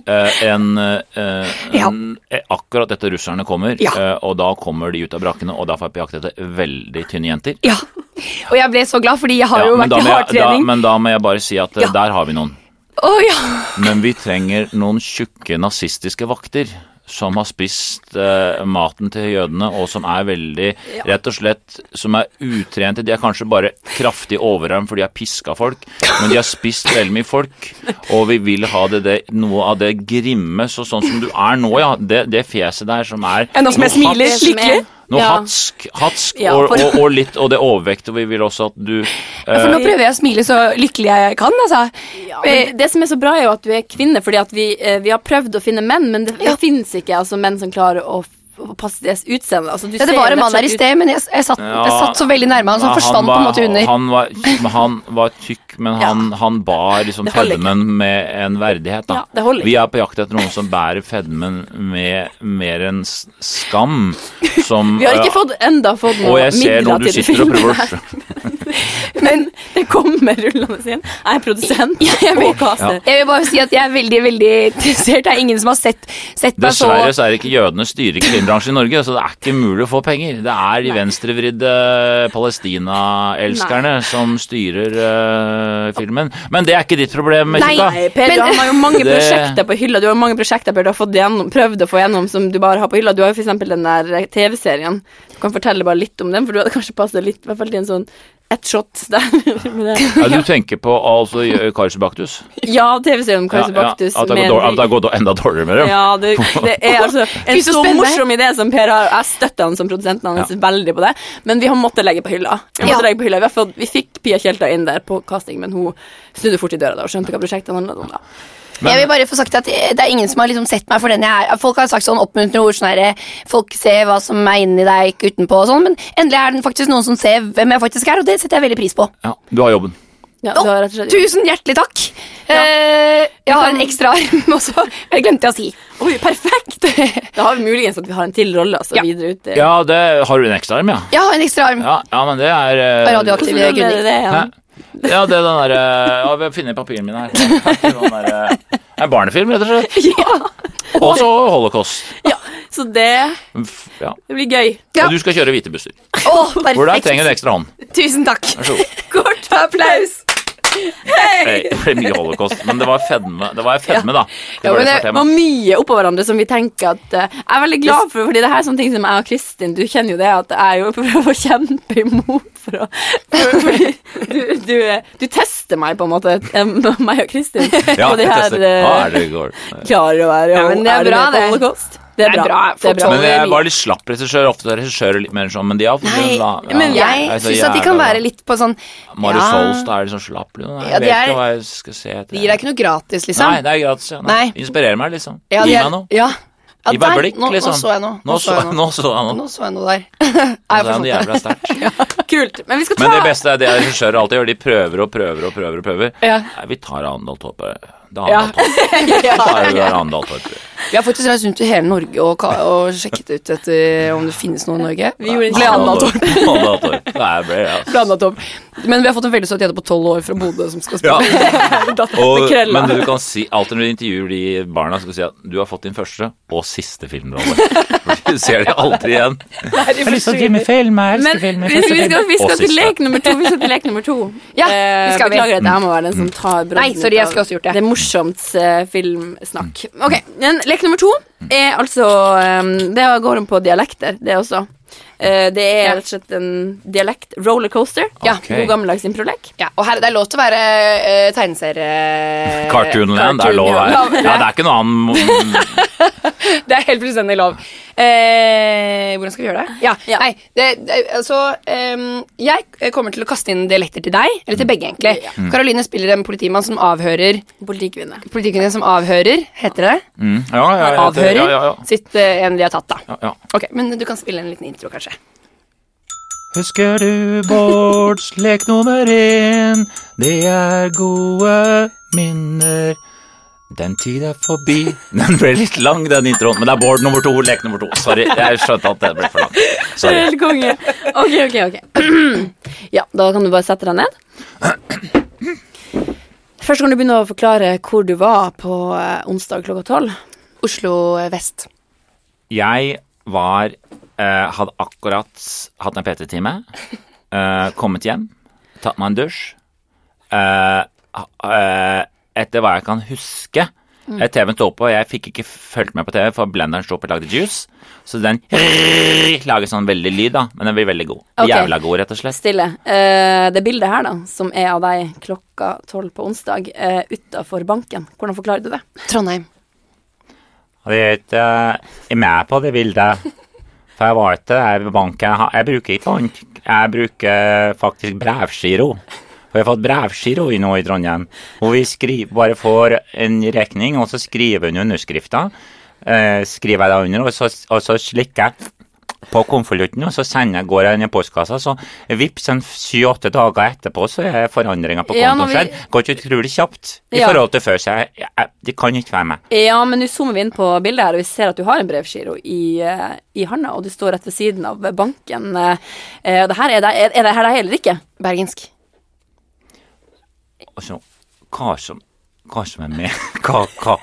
C: eh, en, eh, en eh, Akkurat etter russerne kommer,
A: Ja.
C: eh, og da kommer de ut av brakkene, og da får jeg på jakt etter veldig tynne jenter.
F: ja. Og jeg ble så glad, fordi jeg har
C: Ja,
F: jo
C: men, da
F: vært i
C: må jeg, da,
F: hardtrening.
C: men da må jeg bare si at eh,
F: Ja.
C: der har vi noen.
F: Å ja.
C: Men vi trenger noen tjukke nazistiske vakter som har spist eh, maten til jødene, og som er veldig Rett og slett som er utrente. De er kanskje bare kraftig overarm, for de har piska folk, men de har spist veldig mye folk. Og vi vil ha det, det noe av det grimme, så sånn som du er nå, ja. Det, det fjeset der som er
A: Ennå som jeg
C: noe
A: smiler
C: hatsk-
A: skikkelig.
C: Noe
B: Ja.
C: hatsk, hatsk
B: Ja,
C: og,
B: for-
C: og, og litt og det overvektige. Vi vil også at du eh,
A: For nå prøver jeg å smile så lykkelig jeg kan, altså.
B: Ja, men det som er så bra, er jo at du er kvinne, fordi at vi, eh, vi har prøvd å finne menn, men det, det finnes ikke altså, menn som klarer å, f- å passe deres utseende. Altså, du
F: ja. Det
B: ser
F: var
B: rett og
F: en mann
B: slett
F: her i
B: ut-
F: sted, men jeg, jeg, satt, jeg
C: Ja.
F: satt så veldig nærme han, så
C: Nei,
F: han forsvant på en måte under.
C: Han var, men han var tykk, men han, han bar liksom
B: Det holder ikke.
C: fedmen med en verdighet. Da.
B: Ja, det holder
C: Vi er på jakt etter noen som bærer fedmen med mer enn s- skam. Som,
B: Vi har
C: eh,
B: ikke fått, enda fått
C: og
B: noe
C: jeg ser nå du
B: midler til
C: sitter og
B: filmen
C: prøver å
B: her.
C: skj-
B: Men det kommer rullende inn. Jeg er produsent og caster.
F: Jeg vil bare si at jeg er veldig veldig interessert. Det er ingen som har sett, sett meg så
C: Dessverre så er ikke jødene styrer ikke filmbransjen i Norge, så det er ikke mulig å få penger. Det er de venstrevridde Palestina-elskerne som styrer eh, filmen. Men det er ikke ditt problem, Meshika.
B: Nei, Per,
F: Men-
B: du har jo mange
C: Det-
B: prosjekter på hylla. Du har mange prosjekter Per, du har fått gjennom, prøvd å få gjennom som du bare har på hylla. Du har jo for eksempel den der eh, TV-serien. Du kan fortelle bare litt om den, for du hadde kanskje passet litt, i hvert fall til en sånn ett shot der. med det.
C: Ja, du tenker på altså Jø- Karius Baktus?
B: Ja, TV-serien om Kajsa Baktus.
C: at det
B: med
C: har gått dår- at det har gått enda dårligere med dem?
B: Ja, det, det er altså en
F: Fy, så
B: så
F: spennende.
B: morsom idé som Per har. Jeg støtter han som produsenten hans veldig på det, men vi har måttet legge på hylla. Vi, måtte
F: Ja.
B: legge på hylla. Vi, har fått, vi fikk Pia Kjelta inn der på casting, men hun snudde fort i døra da og skjønte hva prosjektet handlet om. da.
C: Men-
F: jeg vil bare få sagt at Det er ingen som har liksom sett meg for den jeg er. Folk har sagt sånn oppmuntrende ord. sånn her, Folk ser hva som er inni deg, ikke utenpå. og sånn, Men endelig er det faktisk noen som ser hvem jeg faktisk er, og det setter jeg veldig pris på.
C: Ja, du har jobben.
B: Ja, det var rett og slett...
F: Tusen hjertelig takk! Eh, jeg har en ekstra arm også. Det glemte jeg å si.
B: Oi, perfekt! Da har vi muligens at vi har en til rolle altså,
F: Ja.
B: videre ut.
C: Ja, det har du en ekstra arm, ja.
F: Jeg har en ekstra arm.
C: Ja, ja men det er eh,
F: Radioaktiv
B: Hvordan ble det
F: Gunhild.
B: det
C: Hæ?
B: igjen?
C: Ja, det er den derre Ja, vi finner papirene mine her. Den der, eh, det er en barnefilm, rett og slett.
B: Ja.
C: Og så holocaust.
B: ja, så det,
C: Uff, Ja.
B: det blir gøy.
F: Ja.
C: Og du skal kjøre hvite busser.
F: Åh,
C: For der trenger du
F: perfekt.
C: en ekstra hånd.
F: Tusen takk.
C: Vær så god.
B: Kort applaus!
C: Hey, Det ble mye holocaust, men det var fedme, det var fedme da. Det
B: Ja,
C: var
B: men
C: det
B: det
C: som var
B: var
C: tema.
B: mye oppå hverandre som vi tenker at eh, Jeg er veldig glad for fordi det her er sånne ting som jeg og Kristin Du kjenner jo det at jeg jo prøver å kjempe imot for å for, Fordi du, du, eh, du tester meg, på en måte, eh, meg og Kristin,
C: Ja,
B: på de
C: jeg
B: her
C: tester.
B: eh,
C: Hva er det i går?
B: Klarer å være
A: Ja, men det er
B: du
A: bra,
B: med på
A: det.
B: holocaust? Det er
A: Det er
B: bra.
A: bra.
B: Det er bra.
A: Folk
C: Men jeg var litt slapp regissør. Ofte er regissører litt mer sånn, men de har
F: Nei,
C: ja,
F: men jeg
C: altså,
F: syns at de kan
C: jævla-
F: være litt på sånn
C: Mari
A: Ja.
C: Solstad er litt sånn slapp. liksom. Nei,
A: Ja,
C: Jeg
A: de
C: vet ikke
A: er-
C: hva jeg skal se etter.
A: De gir deg ikke noe gratis, liksom.
C: Nei, det er gratis. Ja.
A: Nei.
C: Nei. Inspirer meg, liksom.
A: Ja,
C: Gi
A: de er-
C: meg noe.
A: Ja. Ja,
C: Gi meg
A: der.
C: blikk,
A: nå,
C: liksom.
A: Nå så jeg noe.
C: Nå så jeg
A: noe.
C: nå så jeg noe.
A: Nå så jeg noe der. Nei, jeg
C: Det er noe
A: forsvant.
C: jævla sterkt.
B: Kult. Men vi skal ta
C: Men det beste er det regissører alltid gjør. De prøver og prøver og prøver. og prøver.
A: Ja.
C: Nei, vi tar Arendal Torp. Det er Arendal Torp. Vi tar jo Arendal Torp.
A: Vi har faktisk reist rundt i hele Norge og, ka- og sjekket ut etter om det finnes noe i Norge.
B: Vi gjorde en
A: Ble
B: Arendal
A: annet år.
C: Arendal Torp. Nei, det ble, ja.
A: Blanda topp. Men vi har fått en veldig søt jente på tolv år fra Bodø som skal spille.
C: Ja. Og,
B: krølla.
C: men du kan si, alltid når du intervjuer de barna, skal du si at du har fått din første og siste filmrolle. For du ser de aldri igjen.
A: Jeg har lyst til å gi meg fe-
B: Men vi, vi skal, vi skal
C: Og
B: til
C: siste.
B: lek nummer to. Vi skal til lek nummer to.
A: Ja,
B: Eh,
A: det skal vi.
B: Beklager at jeg må være den som tar brodden
A: Nei, sorry, jeg
B: ut av
A: skulle også gjort det.
B: Det morsomt eh, filmsnakk. Ok, men Lek nummer to er altså eh, Det går om på dialekter, det også. Eh, det er rett og slett en dialekt rollercoaster.
A: Ja.
C: Ok.
B: God gammeldags improlek.
A: Ja, og her, det er lov til å være eh, tegneserie...
C: Cartoonland det er lov her.
A: Cartoon,
C: Eh, Ja, det er ikke noe Mm, annen
A: Ja, det er helt fullstendig lov. Eh, hvordan skal vi gjøre det? Ja,
B: Ja.
A: Nei, det, det, altså ehm, Jeg kommer til å kaste inn dialekter til deg, eller til
B: Mm.
A: begge, egentlig. Karoline spiller en politimann som avhører
B: Politikvinne.
A: Politikvinne som avhører, heter det.
C: Mm, ja, ja, ja,
A: Avhører
C: Ja, ja, ja.
A: sitt eh, en de har tatt, da.
C: Ja, ja.
A: Ok, Men du kan spille en liten intro, kanskje.
C: Husker du Bårds lek nummer én? Det er gode minner. Den tid er forbi. Den ble litt lang, den introen. Men det er Bård nummer to, lek nummer to. Sorry, jeg skjønte at det ble for langt. Sorry.
B: Helt konge. Ok, ok, ok. Ja, da kan du bare sette deg ned. Først kan du begynne å forklare hvor du var på eh, onsdag klokka tolv.
A: Oslo vest.
C: Jeg var eh, Hadde akkurat hatt en PT-time. eh, kommet hjem. Tatt meg en dusj. eh, ha- eh, etter hva jeg kan huske eh, TV-en sto på, og jeg fikk ikke fulgt med på TV, for blenderen sto på og lagde juice. Så den lager sånn veldig lyd, da. Men den blir veldig god.
B: Ok.
C: Jævla god, rett og slett.
B: Stille. Eh, det bildet her, da, som er av deg klokka tolv på onsdag uh, utafor banken, hvordan forklarer du det?
A: Trondheim.
C: Og det er ikke jeg er med på det bildet. For jeg var ikke der ved banken. Jeg har- Jeg bruker ikke bank. Jeg bruker faktisk brevgiro. For jeg har fått brevgiro i nå i Trondheim. Hvor vi skri- bare får en regning, og så skriver hun underskrifta. Eh, skriver jeg da under, og så, og så slikker jeg. på konvolutten, og så sender, går jeg inn i postkassa, så vips, en syv-åtte dager etterpå så er forandringa på
B: Ja, når
C: kontoen
B: vi-
C: skjedd. Går utrolig kjapt i
B: Ja.
C: forhold til før, så jeg, jeg, de kan ikke være med.
B: Ja, men nå zoomer vi inn på bildet her, og vi ser at du har en brevgiro i, eh, i handa, og du står rett ved siden av banken. Eh, eh, og det her er, det, er, er det her deg eller ikke?
A: Bergensk.
C: Altså, hva som, hva som er med? Hva, hva?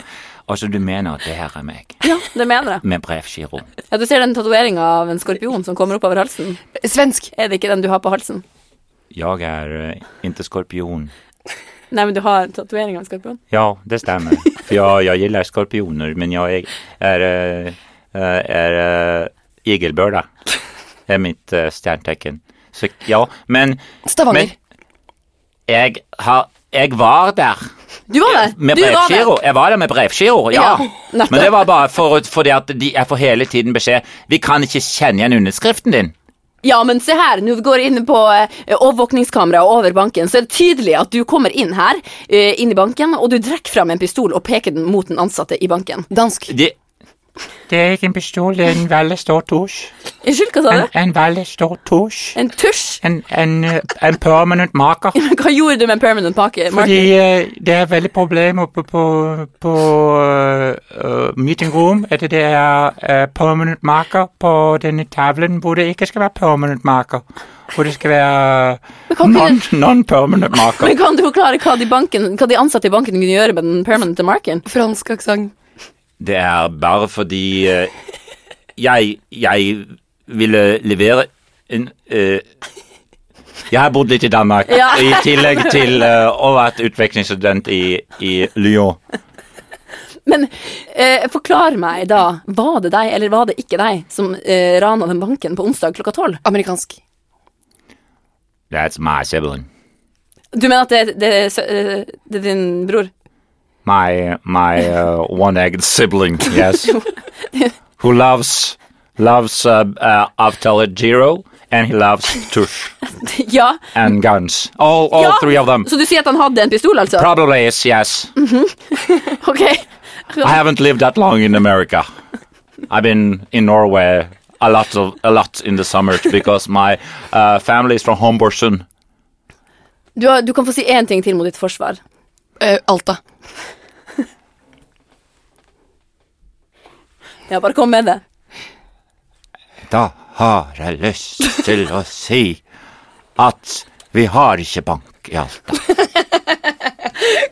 C: Altså, du mener at det her er meg?
B: Ja, det mener jeg.
C: Med brevgiro?
B: Ja, du ser den tatoveringa av en skorpion som kommer opp over halsen.
A: Svensk.
B: Er det ikke den du har på halsen?
C: Jeg er uh, ikke skorpion.
B: Nei, men du har tatovering av en skorpion.
C: Ja, det stemmer. For jeg, jeg gillar skorpioner, men jeg er, eh, eh, er eh, igelbørda. Det er mitt eh, stjernetegn. Så ja, men, men
A: Stavanger.
C: jeg, har, jeg var der
B: Du var der! Du
C: med
B: var der!
C: brevgiro. Jeg var der med brevgiro, ja.
B: Ja, nettopp.
C: men det var bare for, fordi at de, jeg får hele tiden beskjed Vi kan ikke kjenne igjen underskriften din.
B: Ja, men se her, nå går jeg inn på eh, overvåkningskamera og over banken, så er det tydelig at du kommer inn her, eh, inn i banken, og du trekker fram en pistol og peker den mot den ansatte i banken.
A: Dansk.
C: De,
E: Det er ikke en pistol, det er en veldig stor tusj.
B: Unnskyld, hva sa
E: En,
B: du?
E: en veldig stor tusj.
B: En tusj?
E: En, en, eh, en permanent marker.
B: Hva gjorde du med en permanent pakke?
E: Fordi
B: Martin?
E: eh, det er veldig problemer på, på, på eh, meeting room, at det er eh, permanent marker på denne tavlen, hvor det ikke skal være permanent marker. Hvor det skal være
B: kan ikke
E: non- non-permanent marker.
B: Men kan du forklare hva de, banken, hva de ansatte i banken kunne gjøre med den permanente marken?
A: Fransk aksent.
C: Det er bare fordi eh, jeg, jeg ville levere en eh, Jeg har bodd litt i Danmark,
B: Ja.
C: i tillegg til eh, å ha vært utvekslingsstudent i, i Lyon.
B: Men eh, forklar meg da, var det deg eller var det ikke deg som eh, rana den banken på onsdag klokka tolv?
A: Amerikansk.
C: That's my sibling.
B: Du mener at det, det, er sø- eh, det er din bror?
C: My, my eh, one-egged sibling, yes. Who loves, loves uh, uh, Giro, and he loves tush
B: ja.
C: and guns. All, all
B: Ja.
C: three of them.
B: Så du sier at han hadde en pistol, altså?
C: Probably is, yes.
B: Ok.
C: I haven't lived that long in America. I've been in Norway a lot of a lot in the summers because my uh, family is from Homborsund.
B: Du, har- du kan få si én ting til mot ditt forsvar.
A: Eh, Alta.
B: Ja, bare kom med det.
C: Da har jeg lyst til å si at vi har ikke bank i Alta.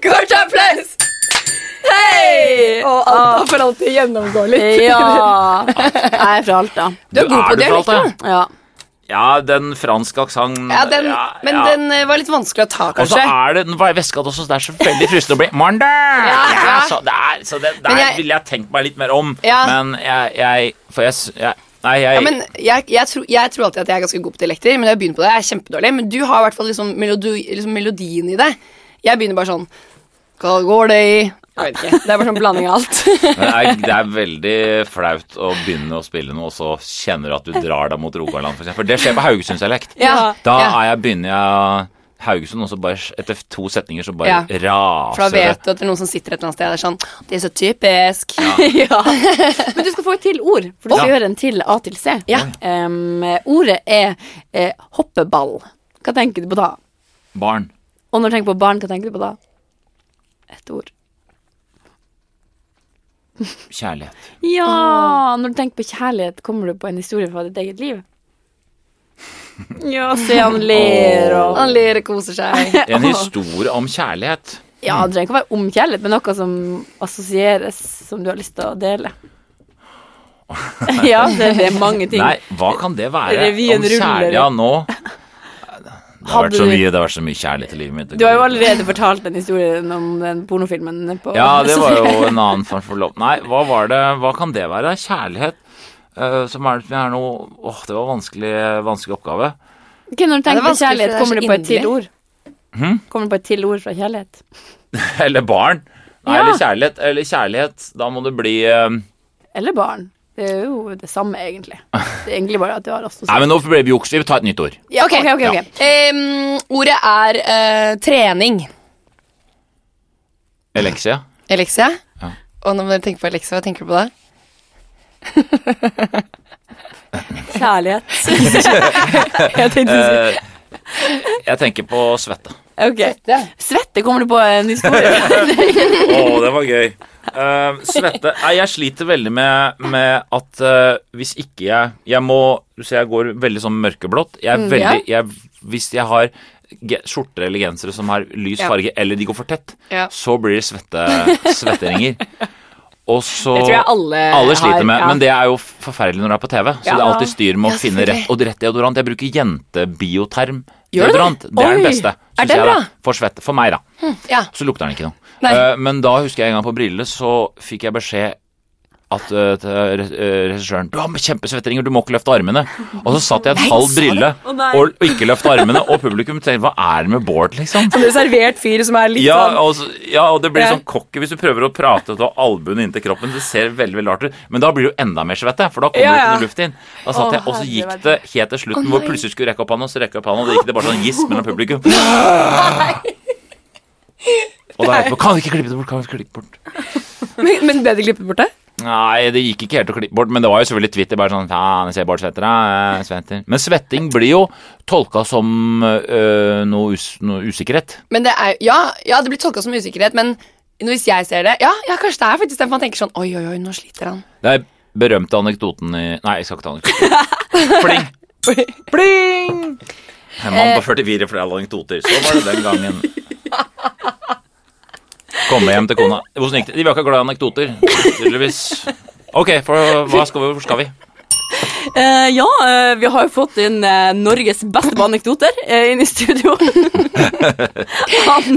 A: Kort applaus!
B: Og Alta for alltid gjennomgå litt. Ja. Jeg er fra Alta.
A: Du er god på dialekt, da.
B: Ja.
G: Ja, den franske aksenten
A: Ja, den, men
G: ja.
A: den eh, var litt vanskelig å ta,
G: Og så
A: kanskje.
G: er det den var i veska også, så det er så veldig fristende å bli Marnda! Ja, så det er, så det, der
A: jeg-
G: ville jeg tenkt meg litt mer om.
A: Ja.
G: Men jeg, jeg For jeg, s- jeg Nei, jeg
A: Ja, men jeg, jeg, tror, jeg tror alltid at jeg er ganske god på dialekter, men jeg begynner på det. Jeg er kjempedårlig, men du har i hvert fall liksom, melodi, liksom melodien i det. Jeg begynner bare sånn Hva går det i? Jeg vet ikke.
B: Det er bare sånn blanding av alt.
G: det, er, det er veldig flaut å begynne å spille noe, og så kjenner du at du drar deg mot Rogaland, for eksempel. Det skjer på Haugesundsdialekt.
A: Ja.
G: Da
A: Ja.
G: er jeg, begynner jeg Haugesund, og så bare etter to setninger så bare
A: Ja. For da
G: raser det.
A: vet du at det er noen som sitter et eller annet sted og er sånn Det er så typisk.
B: ja. Men du skal få et til ord, for du skal gjøre en til A til C.
A: Ja.
B: Em, ordet er eh, hoppeball. Hva tenker du på da?
G: Barn.
B: Og når du tenker på barn, hva tenker du på da? Et ord.
G: Kjærlighet.
B: Ja! Når du tenker på kjærlighet, kommer du på en historie fra ditt eget liv? Ja, se han ler og
A: Han ler og koser seg.
G: En historie om kjærlighet.
B: Ja, det trenger ikke å være om kjærlighet, men noe som assosieres, som du har lyst til å dele. ja, det, det er mange ting.
G: Nei, hva kan det være?
B: Revyen
G: om
B: ruller.
G: kjærlighet ja, nå Det har
B: Hadde
G: vært så
B: du-
G: mye, det har vært så mye kjærlighet i livet mitt.
B: Du har jo allerede fortalt den historien om den pornofilmen på
G: Ja, det var jo en annen form for lov. Nei, hva var det Hva kan det være? Kjærlighet? eh, som er, det er noe Åh, det var en vanskelig, vanskelig oppgave.
B: Ok,
A: Ja,
B: Når du
A: det er
B: tenker på
A: vanskelig,
B: kjærlighet,
A: for det er
B: kommer
A: så
B: du på et til
A: inderlig.
B: ord? Kommer du på et til ord fra kjærlighet?
G: Eller barn. Nei,
B: Ja.
G: eller kjærlighet. Eller kjærlighet. Da må det bli eh,
B: Eller barn? Det er jo det samme, egentlig. Det er egentlig bare at du har oss
G: Nei, men nå ble det juks. Vi tar et nytt ord.
B: Ja, ok, ok, ok.
A: Em, ordet er eh, trening.
G: Elexia.
A: Elixia. Og nå må dere tenke på Elixia. Hva tenker du på da?
B: kjærlighet. jeg tenkte du skulle
C: Eh, jeg tenker på svette.
B: Ok. Svette kommer du på en historie.
C: Å, det var gøy. Eh, svette Nei, jeg sliter veldig med, med at eh, hvis ikke jeg Jeg må Du ser jeg går veldig sånn mørkeblått. Jeg
B: Mm,
C: er veldig jeg, Hvis jeg har ge- skjorter eller gensere som har lys
A: Ja.
C: farge, eller de går for tett,
A: Ja.
C: så blir det svette, svetteringer. Og så
B: Det tror jeg alle
C: alle sliter med,
B: har, ja.
C: men det er jo forferdelig når det er på TV. Så
B: Ja.
C: det er alltid styr med å finne
A: selvfølgelig.
C: rett og rett deodorant. Jeg bruker jentebioterm.
B: Gjør du det?
C: Deodorant. Det er den
B: Oi.
C: beste.
A: Er den
C: synes jeg, da.
A: bra?
C: For svette. For meg, da.
B: Hm,
A: ja.
C: Så lukter den ikke noe.
A: Nei.
C: Eh, men da husker jeg en gang på Brille, så fikk jeg beskjed at eh, til re- eh, regissøren Du har kjempesvetteringer, du må ikke løfte armene. Og så satt jeg et halv brille
B: Å, nei.
C: og, og ikke løfte armene, og publikum tenkte Hva er det med Bård, liksom?
B: Som en servert fyr som er litt
C: Ja,
B: sånn
C: og, så- ja, og det blir
B: Ja.
C: sånn cocky hvis du prøver å prate og ta albuen inntil kroppen. Det ser veldig veldig rart ut, men da blir det jo enda mer svette, for da kommer
B: Ja,
C: det
B: ja.
C: ikke noe luft inn. Da satt
B: Å,
C: jeg, Og så
B: herre
C: gikk det helt til slutten, hvor plutselig skulle rekke opp hånda, så rekke opp hånda, og det gikk det bare sånn gisp mellom publikum. Og da etterpå Kan vi ikke klippe det bort? Kan vi ikke klippe det bort?
B: Men, men ble det klippet bort, det?
C: Nei, det gikk ikke helt å klippe bort, men det var jo selvfølgelig Twitter. bare sånn, faen, jeg ser Bård svetter, ja, jeg svetter. Men svetting blir jo tolka som øh, noe, us noe usikkerhet.
A: Men det er Ja, ja det blir tolka som usikkerhet, men nå hvis jeg ser det Ja, ja kanskje det er faktisk den, for man tenker sånn Oi, oi, oi, nå sliter han.
C: Det er berømte anekdoten i Nei, jeg skal ikke ta anekdoten. Pling!
B: Bling!
C: En mann på 44 flere anekdoter. Så var det den gangen. Komme hjem til kona. Hvordan gikk det? De var ikke glad i anekdoter, tydeligvis. Ok, for hva skal vi, hvor skal vi?
B: Eh, ja, eh, vi har jo fått inn eh, Norges beste på anekdoter eh, inn i studio.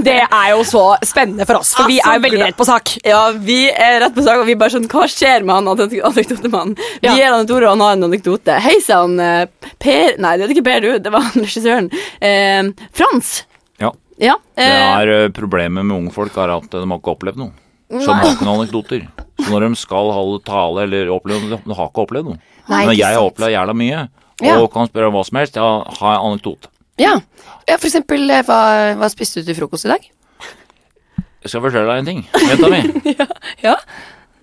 H: Det er jo så spennende for oss, for vi er jo veldig rett på sak.
B: ja, vi er rett på sak, og vi bare sånn Hva skjer med han anek- anekdotemannen? Vi gir han et ord, og han har en anekdote. Hei sann, eh, Per Nei, det er ikke Per, du. Det var han regissøren. Eh, Frans.
C: Ja.
B: Ja.
C: Det
B: eh,
C: er eh, problemet med unge folk er at de har ikke opplevd noe. Så de har ikke noen anekdoter. Så når de skal holde tale eller oppleve noe, de har ikke opplevd noe. Men jeg har opplevd jævla mye,
A: Ja.
C: og kan spørre om hva som helst. Jeg har en anekdote.
A: Ja. ja, for eksempel, eh, hva, hva spiste du til frokost i dag?
C: Jeg skal fortelle deg en ting, jenta mi.
A: ja.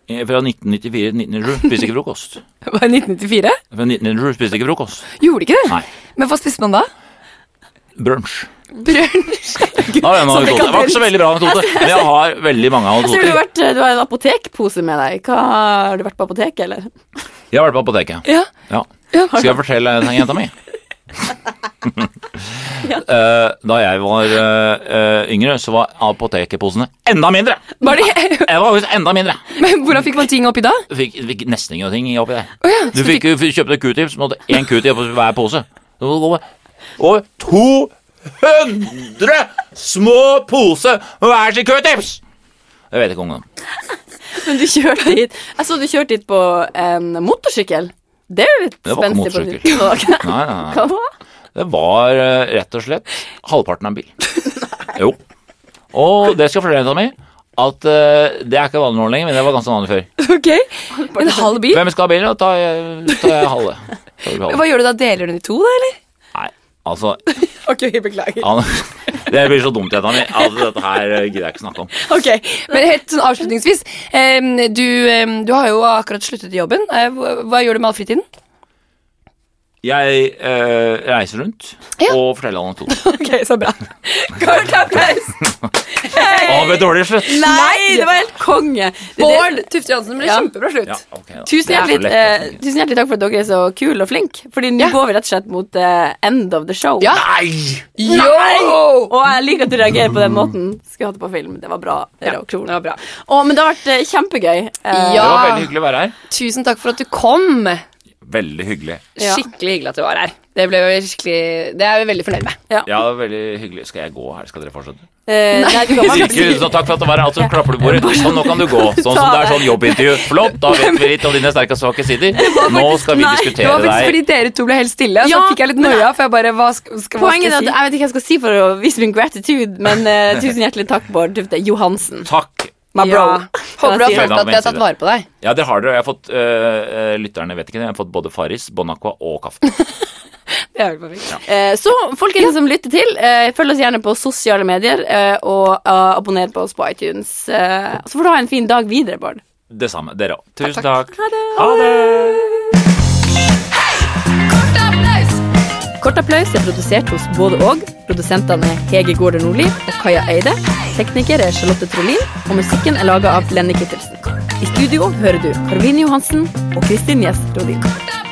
C: Jeg- Fra 1994 til 1997 spiste ikke frokost.
A: Var det 1994?
C: Fra 1997 spiste ikke frokost.
A: Gjorde ikke det?
C: Nei.
A: Men hva spiste man da?
C: Brunsj.
A: Brunsj.
C: Da har jeg en anekdote. Det var ikke så veldig bra anekdote, men jeg har veldig mange
B: jeg tror du
C: anekdoter.
B: har, vært, du har en apotekpose med deg. Hva, har du vært på apoteket, eller?
C: Jeg har vært på apoteket.
A: Ja.
C: Ja. Skal jeg fortelle en ting, jenta mi? Eh, da jeg var eh, eh, yngre, så var apotekerposene enda mindre!
A: Var det,
C: Jeg var enda mindre.
A: men hvordan fikk man ting oppi da?
C: Du fikk, fikk nesten ingenting oppi der.
A: Å ja.
C: Du fikk, du kjøpte Q-tips, måtte én Q-tip på hver pose. Det var over- Over 200 små poser med hver sin Q-tips! Jeg vet ikke om det.
B: Men du kjørte hit Jeg så du kjørte hit på en motorsykkel. Det er jo litt
C: Det var ikke
B: spenstig. på-
C: motorsykkel. Nei, nei, nei.
B: Hva da?
C: Det var eh, rett og slett halvparten av en bil. Jo. Og det skal jeg fortelle jenta mi at eh, det er ikke vanlig nå lenger, men det var ganske vanlig før.
A: Ok, En halv bil?
C: Hvem skal ha bilen? Da tar jeg, tar jeg halve. Tar vi halve.
A: Hva gjør du da? Deler du den i to, da, eller?
C: Nei, altså
H: Ok, beklager.
C: han, Det blir så dumt, jenta mi. Altså, dette her eh, gidder jeg ikke snakke om.
H: Ok,
A: Men helt sånn avslutningsvis, em, du, em, du har jo akkurat sluttet i jobben. Eh, Hva, hva gjør du med all fritiden?
C: Jeg eh, reiser rundt
A: Ja.
C: og forteller anekdoter.
H: ok, så bra.
B: Kort applaus!
C: Av et dårlig slutt!
B: Nei, det var helt konge. Det-
A: Bård Tufte Johansen ble
B: Ja.
A: kjempebra slutt.
C: Ja, ok, da.
B: Tusen
C: Det er
B: hjertelig,
C: så lett å
B: eh,
C: snakke.
B: tusen hjertelig takk for at dere er så kule og flinke. Fordi nå
A: Ja.
B: går vi rett og slett mot eh, end of the show.
A: Ja.
C: Nei!
A: Yo!
B: Og jeg liker at du reagerer på den måten. Skulle hatt det på film. Det var bra. Ja, det var bra. Å, men det har vært eh, kjempegøy. Eh,
A: Ja.
C: Det var veldig hyggelig å være her.
A: Tusen takk for at du kom.
C: Veldig hyggelig.
B: Ja.
A: Skikkelig hyggelig at du var her. Det, ble jo skikkelig, det er vi veldig fornøyd med.
C: Ja, det var veldig hyggelig. Skal jeg gå her? Skal dere fortsette?
B: eh, nei, du kan bare si-
C: Tusen takk for at du var her. Altså, klapper du bordet. Sånn, nå kan du gå. Sånn som det er sånn jobbintervju. Flott, da vet vi litt om dine sterke og svake sider. Nå skal vi
B: Nei,
A: Det
C: diskutere
A: var faktisk
C: deg.
A: fordi dere to ble helt stille, så
B: Ja,
A: fikk jeg litt noia. For jeg bare, hva skal, skal, hva
B: Poenget
A: skal
B: er
A: jeg
B: at
A: si?
B: jeg vet ikke hva jeg skal si for å vise min gratitude, men eh, tusen hjertelig takk, Bård Tufte Johansen.
C: Takk.
B: My bro.
A: Ja. Håper du har
B: Kan jeg si
A: følt
C: det?
A: at vi har tatt vare på deg.
C: Ja, det har dere. Jeg har fått øh, øh, lytterne vet ikke det. Jeg har fått både Farris, Bon Aqua og kaffe.
B: Eh, Så folkens som lytter til, eh, følg oss gjerne på sosiale medier, eh, og eh, abonner på oss på iTunes. Eh, Så får du ha en fin dag videre, Bård.
C: Det samme. Dere òg. Tusen takk.
B: Ha det.
C: Ha det.
I: Kom
B: Kort applaus er produsert hos både og. Produsentene er Hege Gaarder Nordli og Kaja Eide. Tekniker er Charlotte Trolin, og musikken er laga av Lenny Kittelsen. I studio hører du Karoline Johansen og Kristin Gjess Rodin.